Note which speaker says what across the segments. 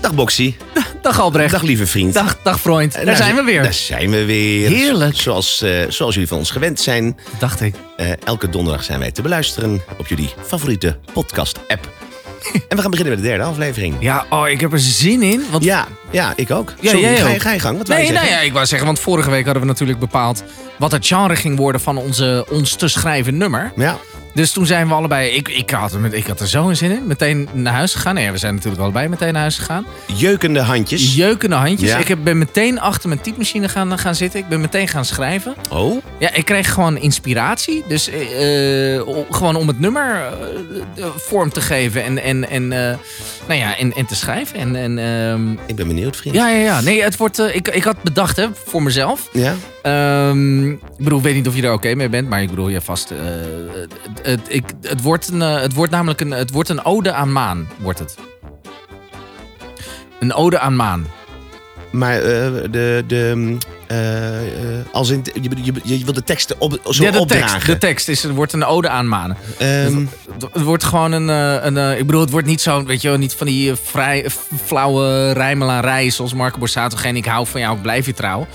Speaker 1: Dag Boxy.
Speaker 2: Dag Albrecht.
Speaker 1: Dag lieve vriend.
Speaker 2: Dag, dag Freund. Daar
Speaker 1: Nou,
Speaker 2: zijn we
Speaker 1: Daar
Speaker 2: weer.
Speaker 1: zijn we weer.
Speaker 2: Heerlijk.
Speaker 1: Zoals, eh, zoals jullie van ons gewend zijn.
Speaker 2: Dacht ik.
Speaker 1: eh, elke donderdag zijn wij te beluisteren op jullie favoriete podcast-app. en we gaan beginnen met de derde aflevering.
Speaker 2: Ja, oh, ik heb er zin in. Want...
Speaker 1: Ja, ja ik ook.
Speaker 2: Ja,
Speaker 1: Sorry,
Speaker 2: jij
Speaker 1: ga, je,
Speaker 2: ook.
Speaker 1: ga je gang. Wat wij
Speaker 2: Nee, nou
Speaker 1: zeggen.
Speaker 2: ja, ik wou zeggen, want vorige week hadden we natuurlijk bepaald wat het genre ging worden van onze ons te schrijven nummer.
Speaker 1: ja.
Speaker 2: Dus toen zijn we allebei, ik, ik, had, er met- ik had er zo een zin in, meteen naar huis gegaan. Nee, we zijn natuurlijk allebei meteen naar huis gegaan.
Speaker 1: Jeukende handjes.
Speaker 2: Jeukende handjes.
Speaker 1: Ja.
Speaker 2: Ik heb, ben meteen achter mijn typemachine gaan, gaan zitten. Ik ben meteen gaan schrijven.
Speaker 1: oh,
Speaker 2: Ja, ik kreeg gewoon inspiratie. Dus eh, eh, o- gewoon om het nummer eh, eh, vorm te geven en, en, en, eh, nou ja, en, en te schrijven. En, en, ehm,
Speaker 1: ik ben benieuwd vriend.
Speaker 2: ja, ja, ja. Nee, het wordt, eh, ik, ik had bedacht hè, voor mezelf.
Speaker 1: Ja?
Speaker 2: Ehm, ik bedoel, ik weet niet of je er oké mee bent, maar ik bedoel, je vast. eh, het, het, ik, het, wordt een, eh, het wordt namelijk een, het wordt een ode aan maan, wordt het. Een ode aan maan.
Speaker 1: Maar eh, de... de mm, eh, eh, als in, je, je, je wil de teksten op, zo
Speaker 2: Ja, de tekst, de
Speaker 1: opdragen.
Speaker 2: tekst is, het wordt een ode aan maan.
Speaker 1: Ehm,
Speaker 2: Het het wordt gewoon een, eh, een eh, ik bedoel, het wordt niet zo, weet je wel, niet van die eh, vrij, f- flauwe rijmelarij zoals Marco Borsato. Geen ik hou van jou, ik blijf je trouw.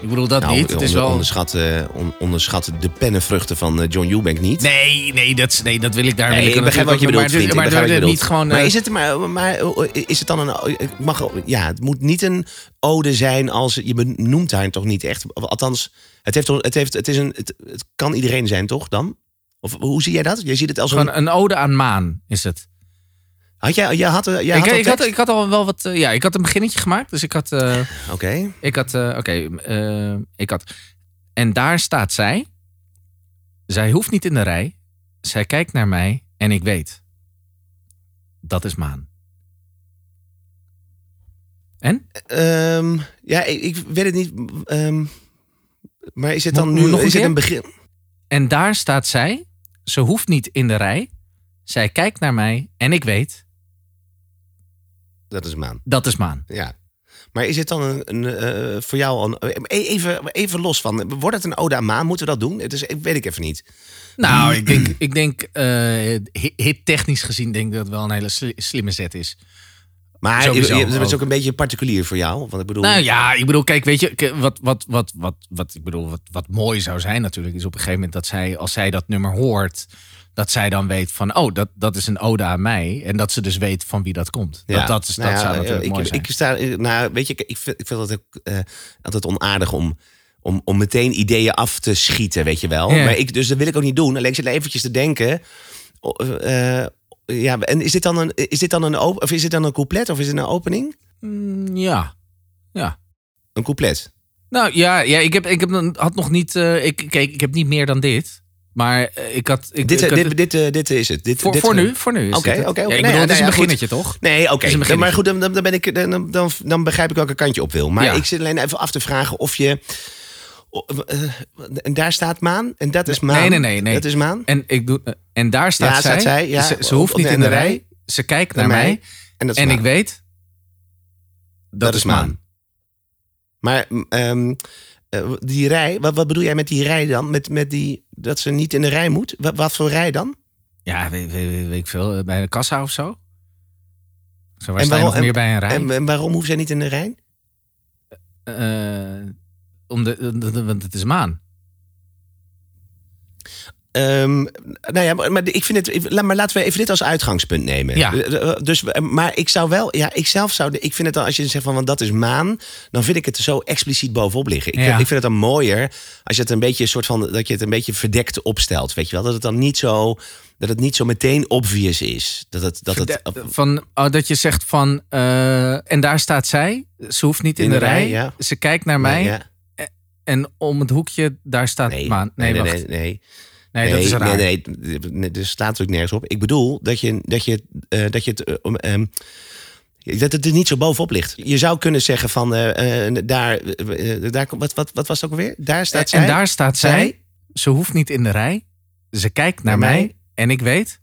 Speaker 2: Ik bedoel dat
Speaker 1: nou,
Speaker 2: niet. Het is
Speaker 1: onder-
Speaker 2: wel.
Speaker 1: onderschat, eh, on- onderschat de pennenvruchten van eh, John Eubank niet.
Speaker 2: Nee, nee, dat, nee, dat wil ik daar. wil
Speaker 1: Nee, ik begrijp wat
Speaker 2: natuurlijk ook-
Speaker 1: je bedoelt, vriend. Ik
Speaker 2: Maar, dit-
Speaker 1: begrijp
Speaker 2: maar
Speaker 1: wat je
Speaker 2: dit- niet
Speaker 1: bedoelt.
Speaker 2: gewoon. eh,
Speaker 1: Maar is het, maar, maar eh, is het dan een... ik Mag, ja, het moet niet een ode zijn als... Je benoemt haar toch niet echt? Althans, het, heeft, toch- het, heeft, het, is een, het, het kan iedereen zijn, toch, dan? Of hoe zie jij dat? Jij ziet het als een...
Speaker 2: gewoon een ode aan maan is het.
Speaker 1: Had jij, jij had, eh, jij
Speaker 2: ik,
Speaker 1: had, al
Speaker 2: ik, had,
Speaker 1: tekst?
Speaker 2: ik had al wel wat. eh, ja, ik had een beginnetje gemaakt. Dus ik had. eh,
Speaker 1: Oké.
Speaker 2: ik had. eh, Oké. eh, ik had. En daar staat zij. Zij hoeft niet in de rij. Zij kijkt naar mij en ik weet. Dat is maan. En?
Speaker 1: Ehm, ja, ik, ik weet het niet. ehm, maar is het dan
Speaker 2: Moet-
Speaker 1: nu...
Speaker 2: moet nog een
Speaker 1: is het
Speaker 2: keer?
Speaker 1: een begin...
Speaker 2: En daar staat zij. Ze hoeft niet in de rij. Zij kijkt naar mij en ik weet.
Speaker 1: Dat is maan.
Speaker 2: Dat is maan.
Speaker 1: Ja. Maar is het dan een, een, eh, voor jou een, even, even los van, wordt het een ode aan maan? Moeten we dat doen? Het is, ik weet ik even niet.
Speaker 2: Nou, ik denk, ik denk hit technisch gezien, denk ik dat het wel een hele sli- slimme zet is.
Speaker 1: Maar je,
Speaker 2: Sowieso
Speaker 1: je- het is
Speaker 2: ook.
Speaker 1: ook een beetje particulier voor jou. Want ik bedoel,
Speaker 2: Nou ja, ik bedoel, kijk, weet je, k- wat, wat, wat, wat, wat, ik bedoel, wat, wat mooi zou zijn natuurlijk, is op een gegeven moment dat zij, als zij dat nummer hoort, dat zij dan weet van, oh, dat, dat is een ode aan mij. En dat ze dus weet van wie dat komt.
Speaker 1: Ja.
Speaker 2: Dat, dat, is,
Speaker 1: Nou
Speaker 2: dat
Speaker 1: ja,
Speaker 2: zou natuurlijk
Speaker 1: ik,
Speaker 2: mooi zijn.
Speaker 1: ik sta, eh, nou, weet je, ik, ik vind, ik vind het ook eh, altijd onaardig om, om, om meteen ideeën af te schieten, weet je wel.
Speaker 2: Ja.
Speaker 1: Maar ik, dus dat wil ik ook niet doen. Alleen ik zit eventjes te denken. oh, eh, eh, ja, en is dit dan een, is dit dan een, op- of is dit dan een couplet of is het een opening?
Speaker 2: Mm, ja.
Speaker 1: Een couplet.
Speaker 2: Nou ja, ja ik, heb, ik heb, dan- had nog niet, eh, ik, kijk, ik heb niet meer dan dit. Maar eh, ik had... Ik,
Speaker 1: Dit,
Speaker 2: ik
Speaker 1: eh,
Speaker 2: had-
Speaker 1: dit, dit, eh, dit is het. Dit,
Speaker 2: voor,
Speaker 1: dit
Speaker 2: voor nu, voor nu. is
Speaker 1: Oké,
Speaker 2: dit het.
Speaker 1: oké, oké.
Speaker 2: Ja, ik
Speaker 1: Nou
Speaker 2: bedoel,
Speaker 1: ja,
Speaker 2: het
Speaker 1: nou
Speaker 2: is
Speaker 1: ja,
Speaker 2: een
Speaker 1: goed.
Speaker 2: beginnetje, toch?
Speaker 1: Nee, oké.
Speaker 2: is een beginnetje.
Speaker 1: Maar goed, dan, dan, ben ik, dan, dan, dan begrijp ik welke kant je op wil. Maar
Speaker 2: Ja.
Speaker 1: ik zit alleen even af te vragen of je... o- eh, en daar staat maan en dat is maan.
Speaker 2: nee, nee, nee.
Speaker 1: Dat is maan.
Speaker 2: En, ik doe, en daar staat
Speaker 1: Ja,
Speaker 2: zij.
Speaker 1: staat zij, ja.
Speaker 2: ze, ze hoeft
Speaker 1: Op-
Speaker 2: niet
Speaker 1: op-
Speaker 2: in de
Speaker 1: en de
Speaker 2: rij.
Speaker 1: rij.
Speaker 2: Ze kijkt naar mij.
Speaker 1: En dat is
Speaker 2: En
Speaker 1: maan.
Speaker 2: ik weet. Dat, is maan.
Speaker 1: Maar ehm, eh, die rij, wat, wat bedoel jij met die rij dan? Met, met die, dat ze niet in de rij moet? Wat, wat voor rij dan?
Speaker 2: Ja, weet, weet- weet- weet ik veel. eh, Bij de kassa of zo. Zo, waar
Speaker 1: En
Speaker 2: sta je
Speaker 1: waarom-
Speaker 2: nog meer bij een rij?
Speaker 1: En, en waarom hoeft zij niet in de rij?
Speaker 2: Eh, om de, de- de- want het is maan.
Speaker 1: Ehm, nou ja, maar, maar ik vind het. ik- laat- Maar laten we even dit als uitgangspunt nemen.
Speaker 2: Ja.
Speaker 1: Eh, eh, Dus, eh, maar ik zou wel. Ja, ik zelf zou. Ik vind het dan. Als je zegt van. Want dat is maan. Dan vind ik het er zo expliciet bovenop liggen. Ik,
Speaker 2: Ja.
Speaker 1: vind, ik vind het dan mooier. Als je het een beetje. een soort van. Dat je het een beetje verdekt opstelt. Weet je wel. Dat het dan niet zo. Dat het niet zo meteen obvious is. Dat het. Dat het
Speaker 2: De- van, oh, dat je zegt van. eh, en daar staat zij. Ze hoeft niet in, de, rij.
Speaker 1: ja.
Speaker 2: Ze kijkt naar mij.
Speaker 1: Ja.
Speaker 2: En om het hoekje, daar staat
Speaker 1: Nee.
Speaker 2: maan. Nee,
Speaker 1: Nee, nee,
Speaker 2: wacht.
Speaker 1: nee, nee.
Speaker 2: Nee, dat is raar.
Speaker 1: Nee, nee, nee, er staat natuurlijk nergens op. Ik bedoel dat je, dat je, eh, dat je het. eh, om, ehm, dat het er niet zo bovenop ligt. Je zou kunnen zeggen van eh, eh, daar, eh, eh, daar komt- wat, wat, wat was het ook alweer? Daar staat zij.
Speaker 2: en daar staat zij.
Speaker 1: Zij?
Speaker 2: Ze hoeft niet in de rij. Ze kijkt naar,
Speaker 1: Naar
Speaker 2: mij.
Speaker 1: mij.
Speaker 2: En ik weet.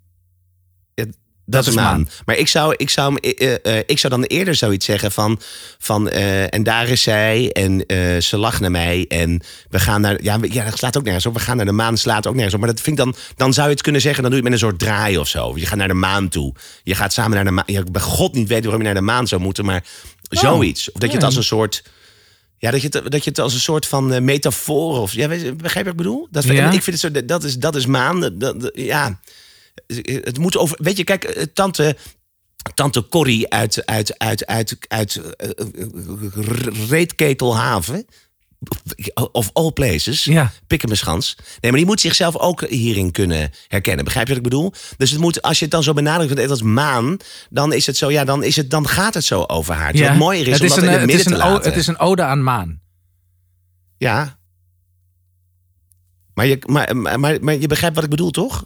Speaker 1: Dat, is
Speaker 2: is
Speaker 1: maan.
Speaker 2: maan.
Speaker 1: Maar ik zou, ik, zou, hem, eh, eh, eh, ik zou dan eerder zoiets zeggen van... van eh, en daar is zij en eh, ze lacht naar mij. En we gaan naar... Ja, we- ja, dat slaat ook nergens op. We gaan naar de maan, slaat ook nergens op. Maar dat vind ik dan, dan zou je het kunnen zeggen... dan doe je het met een soort draai of zo. Je gaat naar de maan toe. Je gaat samen naar de maan. Ja, ik bij god niet weet waarom je naar de maan zou moeten. Maar zoiets. Of dat je het
Speaker 2: ja.
Speaker 1: als een soort... Ja, dat je, het, dat je het als een soort van eh, metafoor of... Ja, weet je- begrijp je wat ik bedoel? Dat,
Speaker 2: Ja.
Speaker 1: Ik vind het zo... Dat is, dat is maan. Dat, dat- ja... Het moet over. Weet je, kijk, eh, tante. Tante Corrie uit, uit, uit, uit, uit eh, eh, eh, Reetketelhaven. Of all places.
Speaker 2: Ja.
Speaker 1: Pikken mijn schans. Nee, maar die moet zichzelf ook hierin kunnen herkennen. Begrijp je wat ik bedoel? Dus het moet, als je het dan zo benadrukt want als maan, dan is het zo, ja, dan, is het, dan gaat het zo over haar. Terwijl Het mooier is, om dat
Speaker 2: een,
Speaker 1: in het
Speaker 2: eh,
Speaker 1: midden
Speaker 2: is een
Speaker 1: te
Speaker 2: o-
Speaker 1: laten.
Speaker 2: het is een ode aan maan.
Speaker 1: Ja. Maar je, maar, maar, maar, maar je begrijpt wat ik bedoel, toch?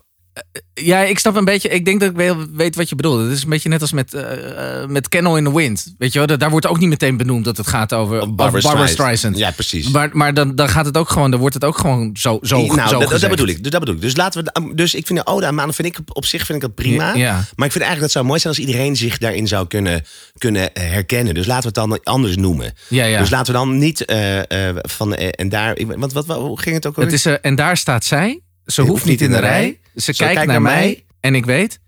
Speaker 2: Ja, ik snap een beetje. Ik denk dat ik wel weet wat je bedoelt. Het is een beetje net als met, eh eh, met Kennel in the Wind. Weet je wel, Da- daar wordt ook niet meteen benoemd dat het gaat over over Barbara, Streisand.
Speaker 1: Ja, precies.
Speaker 2: Maar, maar dan, dan gaat het ook gewoon, dan wordt het ook gewoon zo, zo,
Speaker 1: Die- nou,
Speaker 2: zo
Speaker 1: dat, dat
Speaker 2: gezegd.
Speaker 1: bedoel ik. Dus Dat bedoel ik. Dus laten we. de- Dus ik vind de ode aan maan vind ik op zich vind ik dat prima.
Speaker 2: Ja, ja.
Speaker 1: Maar ik vind eigenlijk dat zou mooi zijn als iedereen zich daarin zou kunnen, kunnen eh, herkennen. Dus laten we het dan anders noemen.
Speaker 2: Ja, ja.
Speaker 1: Dus laten we dan niet eh, eh, van eh, en daar. ik- Want wat, wat, hoe ging het ook alweer?
Speaker 2: Het is, eh, en daar staat zij. Ze hoeft niet in de rij. Ze kijkt naar, mij. En ik weet,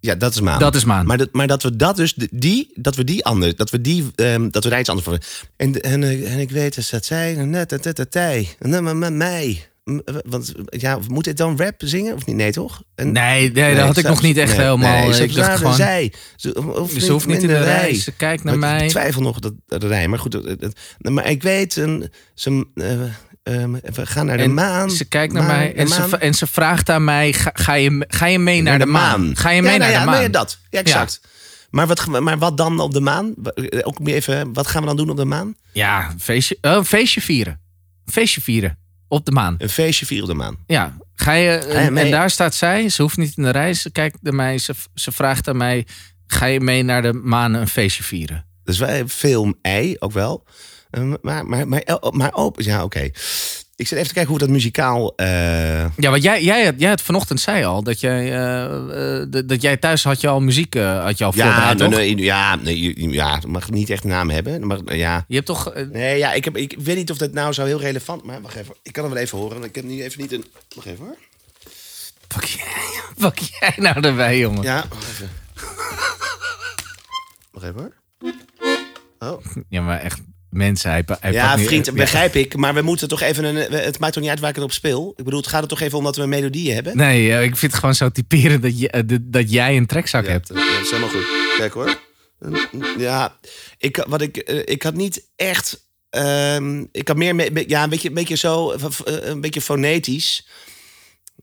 Speaker 1: Ja, dat is maan.
Speaker 2: dat is maan.
Speaker 1: Nou, Maar dat, maar dat we dat dus, de- die, dat we die anders, dat we die, ehm, dat we daar iets anders voor. En, en, eh, en ik weet dus dat zij, net, dat, dat, dat, zij, net, met- met mij. M- Want ja, moet dit dan rap zingen of niet? Nee, toch? En,
Speaker 2: nee, nee, dat had ik
Speaker 1: zelfs-
Speaker 2: nog niet echt
Speaker 1: nee,
Speaker 2: helemaal.
Speaker 1: nee,
Speaker 2: eh,
Speaker 1: ze
Speaker 2: ik dacht
Speaker 1: vragen
Speaker 2: gewoon,
Speaker 1: zij. Ze, of
Speaker 2: ze hoeft niet in de rij. Ze kijkt naar
Speaker 1: Maar Ik
Speaker 2: mij.
Speaker 1: twijfel nog dat dat rij. Maar goed, dat- dat- maar ik weet, een, ze, eh, eh, we gaan naar de
Speaker 2: En
Speaker 1: maan.
Speaker 2: Ze kijkt naar
Speaker 1: Maan,
Speaker 2: mij
Speaker 1: de
Speaker 2: en ze,
Speaker 1: maan.
Speaker 2: v- en ze vraagt aan mij: ga, ga je, ga je mee naar, de, maan? Ga je mee
Speaker 1: ja,
Speaker 2: naar
Speaker 1: nou
Speaker 2: de
Speaker 1: ja,
Speaker 2: maan?
Speaker 1: nou ja, dat. Ja, exact. Maar, wat, maar wat dan op de maan? Eh, Ook meer even, wat gaan we dan doen op de maan?
Speaker 2: Ja, een feestje, eh, een feestje vieren. Een feestje vieren. Op de maan.
Speaker 1: Een feestje vieren op de maan.
Speaker 2: Ja. Ga je,
Speaker 1: je
Speaker 2: en,
Speaker 1: mee?
Speaker 2: en daar staat zij. Ze hoeft niet in de rij. Ze kijkt naar mij. Ze, ze vraagt aan mij: Ga je mee naar de maan een feestje vieren?
Speaker 1: Dus wij film ei ook wel. Eh, maar, maar, maar, el- maar open. Ja, oké. Ik zit even te kijken hoe we dat muzikaal. eh,
Speaker 2: Ja, want jij, jij, had- jij had vanochtend zei al dat jij, eh, eh, d- dat jij thuis had je al muziek eh, had je al
Speaker 1: ja,
Speaker 2: voorbereid.
Speaker 1: nee,
Speaker 2: toch?
Speaker 1: nee, ja, nee, ja, het mag niet echt een naam hebben. Het Mag, ja.
Speaker 2: Je hebt toch. eh,
Speaker 1: Nee, ja, ik, heb, ik weet niet of dat nou zo heel relevant. Maar wacht even. Ik kan het wel even horen. want Ik heb nu even niet een. Wacht even hoor.
Speaker 2: pak, jij, pak jij nou erbij, jongen?
Speaker 1: Ja, wacht even. wacht even hoor. Oh.
Speaker 2: Ja, maar echt mensen. Hij, pa- hij
Speaker 1: eh, Ja,
Speaker 2: pakt nu-
Speaker 1: vriend,
Speaker 2: ja.
Speaker 1: begrijp ik. Maar we moeten toch even een. we- Het maakt toch niet uit waar ik het op speel. Ik bedoel, het gaat er toch even om dat we melodieën hebben.
Speaker 2: Nee, eh, ik vind het gewoon zo typerend dat, je, eh, dat- dat jij een trekzak hebt.
Speaker 1: Dat is helemaal goed. Kijk hoor. Ja, ik, wat ik, eh, ik had niet echt. ehm, ik had meer. me- be- Ja, een beetje, een beetje zo. eh, f- eh, Een beetje fonetisch.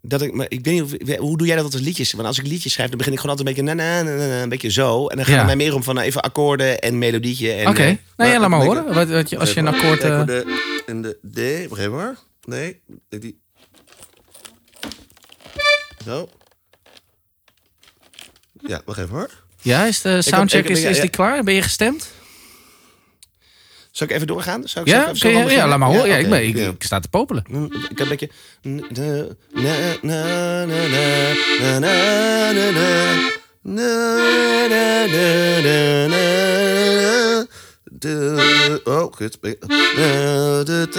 Speaker 1: Dat ik, maar ik weet niet, of- hoe doe jij dat altijd met liedjes? Want als ik liedjes schrijf, dan begin ik gewoon altijd een beetje na, na, na, na, na, een beetje zo. En dan gaat
Speaker 2: Ja.
Speaker 1: het mij meer om van nou, even akkoorden en melodietje. en,
Speaker 2: Oké,
Speaker 1: eh,
Speaker 2: nou ja, laat maar
Speaker 1: ik-
Speaker 2: horen. Wat, wat je, als je een
Speaker 1: Even
Speaker 2: akkoord...
Speaker 1: kijken
Speaker 2: eh,
Speaker 1: hoe de, en de D, begrijp maar. Nee, ik die. Zo. Ja, wacht even hoor.
Speaker 2: ja, is de soundcheck
Speaker 1: ik- ik-
Speaker 2: is, is
Speaker 1: ja.
Speaker 2: die klaar? Ben je gestemd?
Speaker 1: Zal ik even doorgaan? Zal ik zal ik
Speaker 2: Ja,
Speaker 1: even
Speaker 2: Oké,
Speaker 1: zo
Speaker 2: ja,
Speaker 1: beginnen?
Speaker 2: ja, laat maar horen. Ja,
Speaker 1: oké.
Speaker 2: ik, ben, ik,
Speaker 1: Ja.
Speaker 2: ik sta te popelen.
Speaker 1: Hm, Ik heb een beetje. Na, na, na, na, na, na, na, na. Na, na, na, na, na. De- Oh, kut. De- de- de-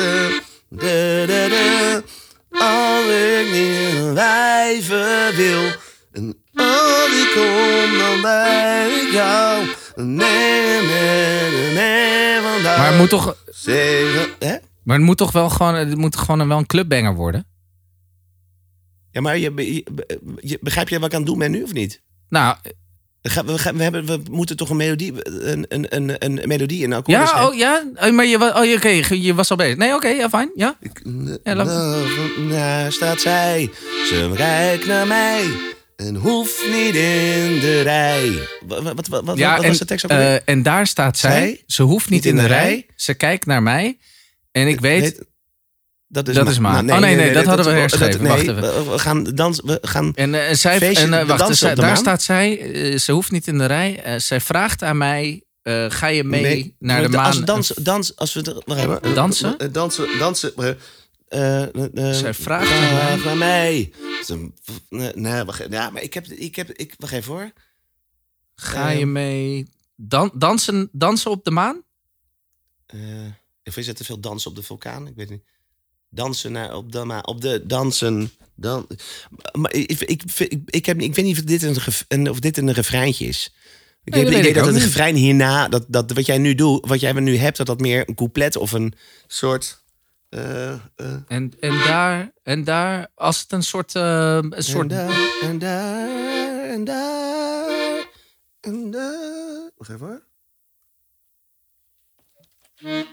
Speaker 1: de- de- de. Als ik niet wijven wil. En als ik kom, dan blijf ik jou. Nee, nee, nee, nee, vandaag.
Speaker 2: Maar het moet toch,
Speaker 1: Zeven. Hè?
Speaker 2: maar het moet toch wel gewoon, het moet gewoon een, wel een clubbanger worden?
Speaker 1: Ja, maar je, be- je, be- je- begrijp je wat ik aan het doen ben nu of niet?
Speaker 2: Nou,
Speaker 1: Ga- We, ga- we, hebben, we moeten toch een melodie, een, een, een, een melodie in akkoord dus,
Speaker 2: ja, oh, ja, oh, maar je, wa- oh, ja, oké, je was al bezig. Nee, oké, ja, fijn, ja. Ja, laat-
Speaker 1: Daar staat zij, ze kijkt naar mij en hoeft niet in de rij. Wat, wat, wat, wat,
Speaker 2: ja
Speaker 1: wat was de tekst ook alweer?
Speaker 2: eh, en daar staat zij.
Speaker 1: Zij?
Speaker 2: Ze hoeft niet in de rij. Ze kijkt naar mij. En ik weet,
Speaker 1: Nee, dat is,
Speaker 2: dat
Speaker 1: ma-
Speaker 2: is maar. Oh, nee, nee, dat hadden we herschreven.
Speaker 1: nee,
Speaker 2: Wacht even.
Speaker 1: We we gaan dansen. We gaan,
Speaker 2: En, eh, zij,
Speaker 1: Feestje,
Speaker 2: en eh,
Speaker 1: de
Speaker 2: wacht,
Speaker 1: dansen
Speaker 2: zij-
Speaker 1: op de
Speaker 2: daar
Speaker 1: maan.
Speaker 2: staat zij. eh, ze hoeft niet in de rij. Eh, zij vraagt aan mij: eh, ga je mee naar de maan?
Speaker 1: Als, dans, dans, als we... de- wacht even.
Speaker 2: Dansen?
Speaker 1: Eh, Dansen, dansen. eh, eh, eh, eh,
Speaker 2: Zij vraagt
Speaker 1: vraag
Speaker 2: aan
Speaker 1: naar mij. Ze- Nee, nee, wacht, ja, maar ik heb, ik heb, ik, wacht even hoor.
Speaker 2: Eh, Ga
Speaker 1: Ehm.
Speaker 2: je mee dan, dansen, dansen op de maan?
Speaker 1: Eh, of is het te veel dansen op de vulkaan? Ik weet niet. Dansen naar, op, de, maar op de dansen. Dan, maar ik, ik, ik, ik, heb, ik weet niet of dit een, gef- een- of dit een refreintje is. Ik
Speaker 2: Nee, dat
Speaker 1: heb
Speaker 2: weet
Speaker 1: het idee
Speaker 2: ik
Speaker 1: dat
Speaker 2: ook
Speaker 1: het
Speaker 2: niet.
Speaker 1: refrein hierna, dat, dat wat jij nu doet, wat jij nu hebt, dat dat meer een couplet of een soort. eh, eh,
Speaker 2: En, en, daar, en daar, als het een soort, eh, een
Speaker 1: En
Speaker 2: soort
Speaker 1: daar, en daar, en daar, en daar. Wacht even hoor.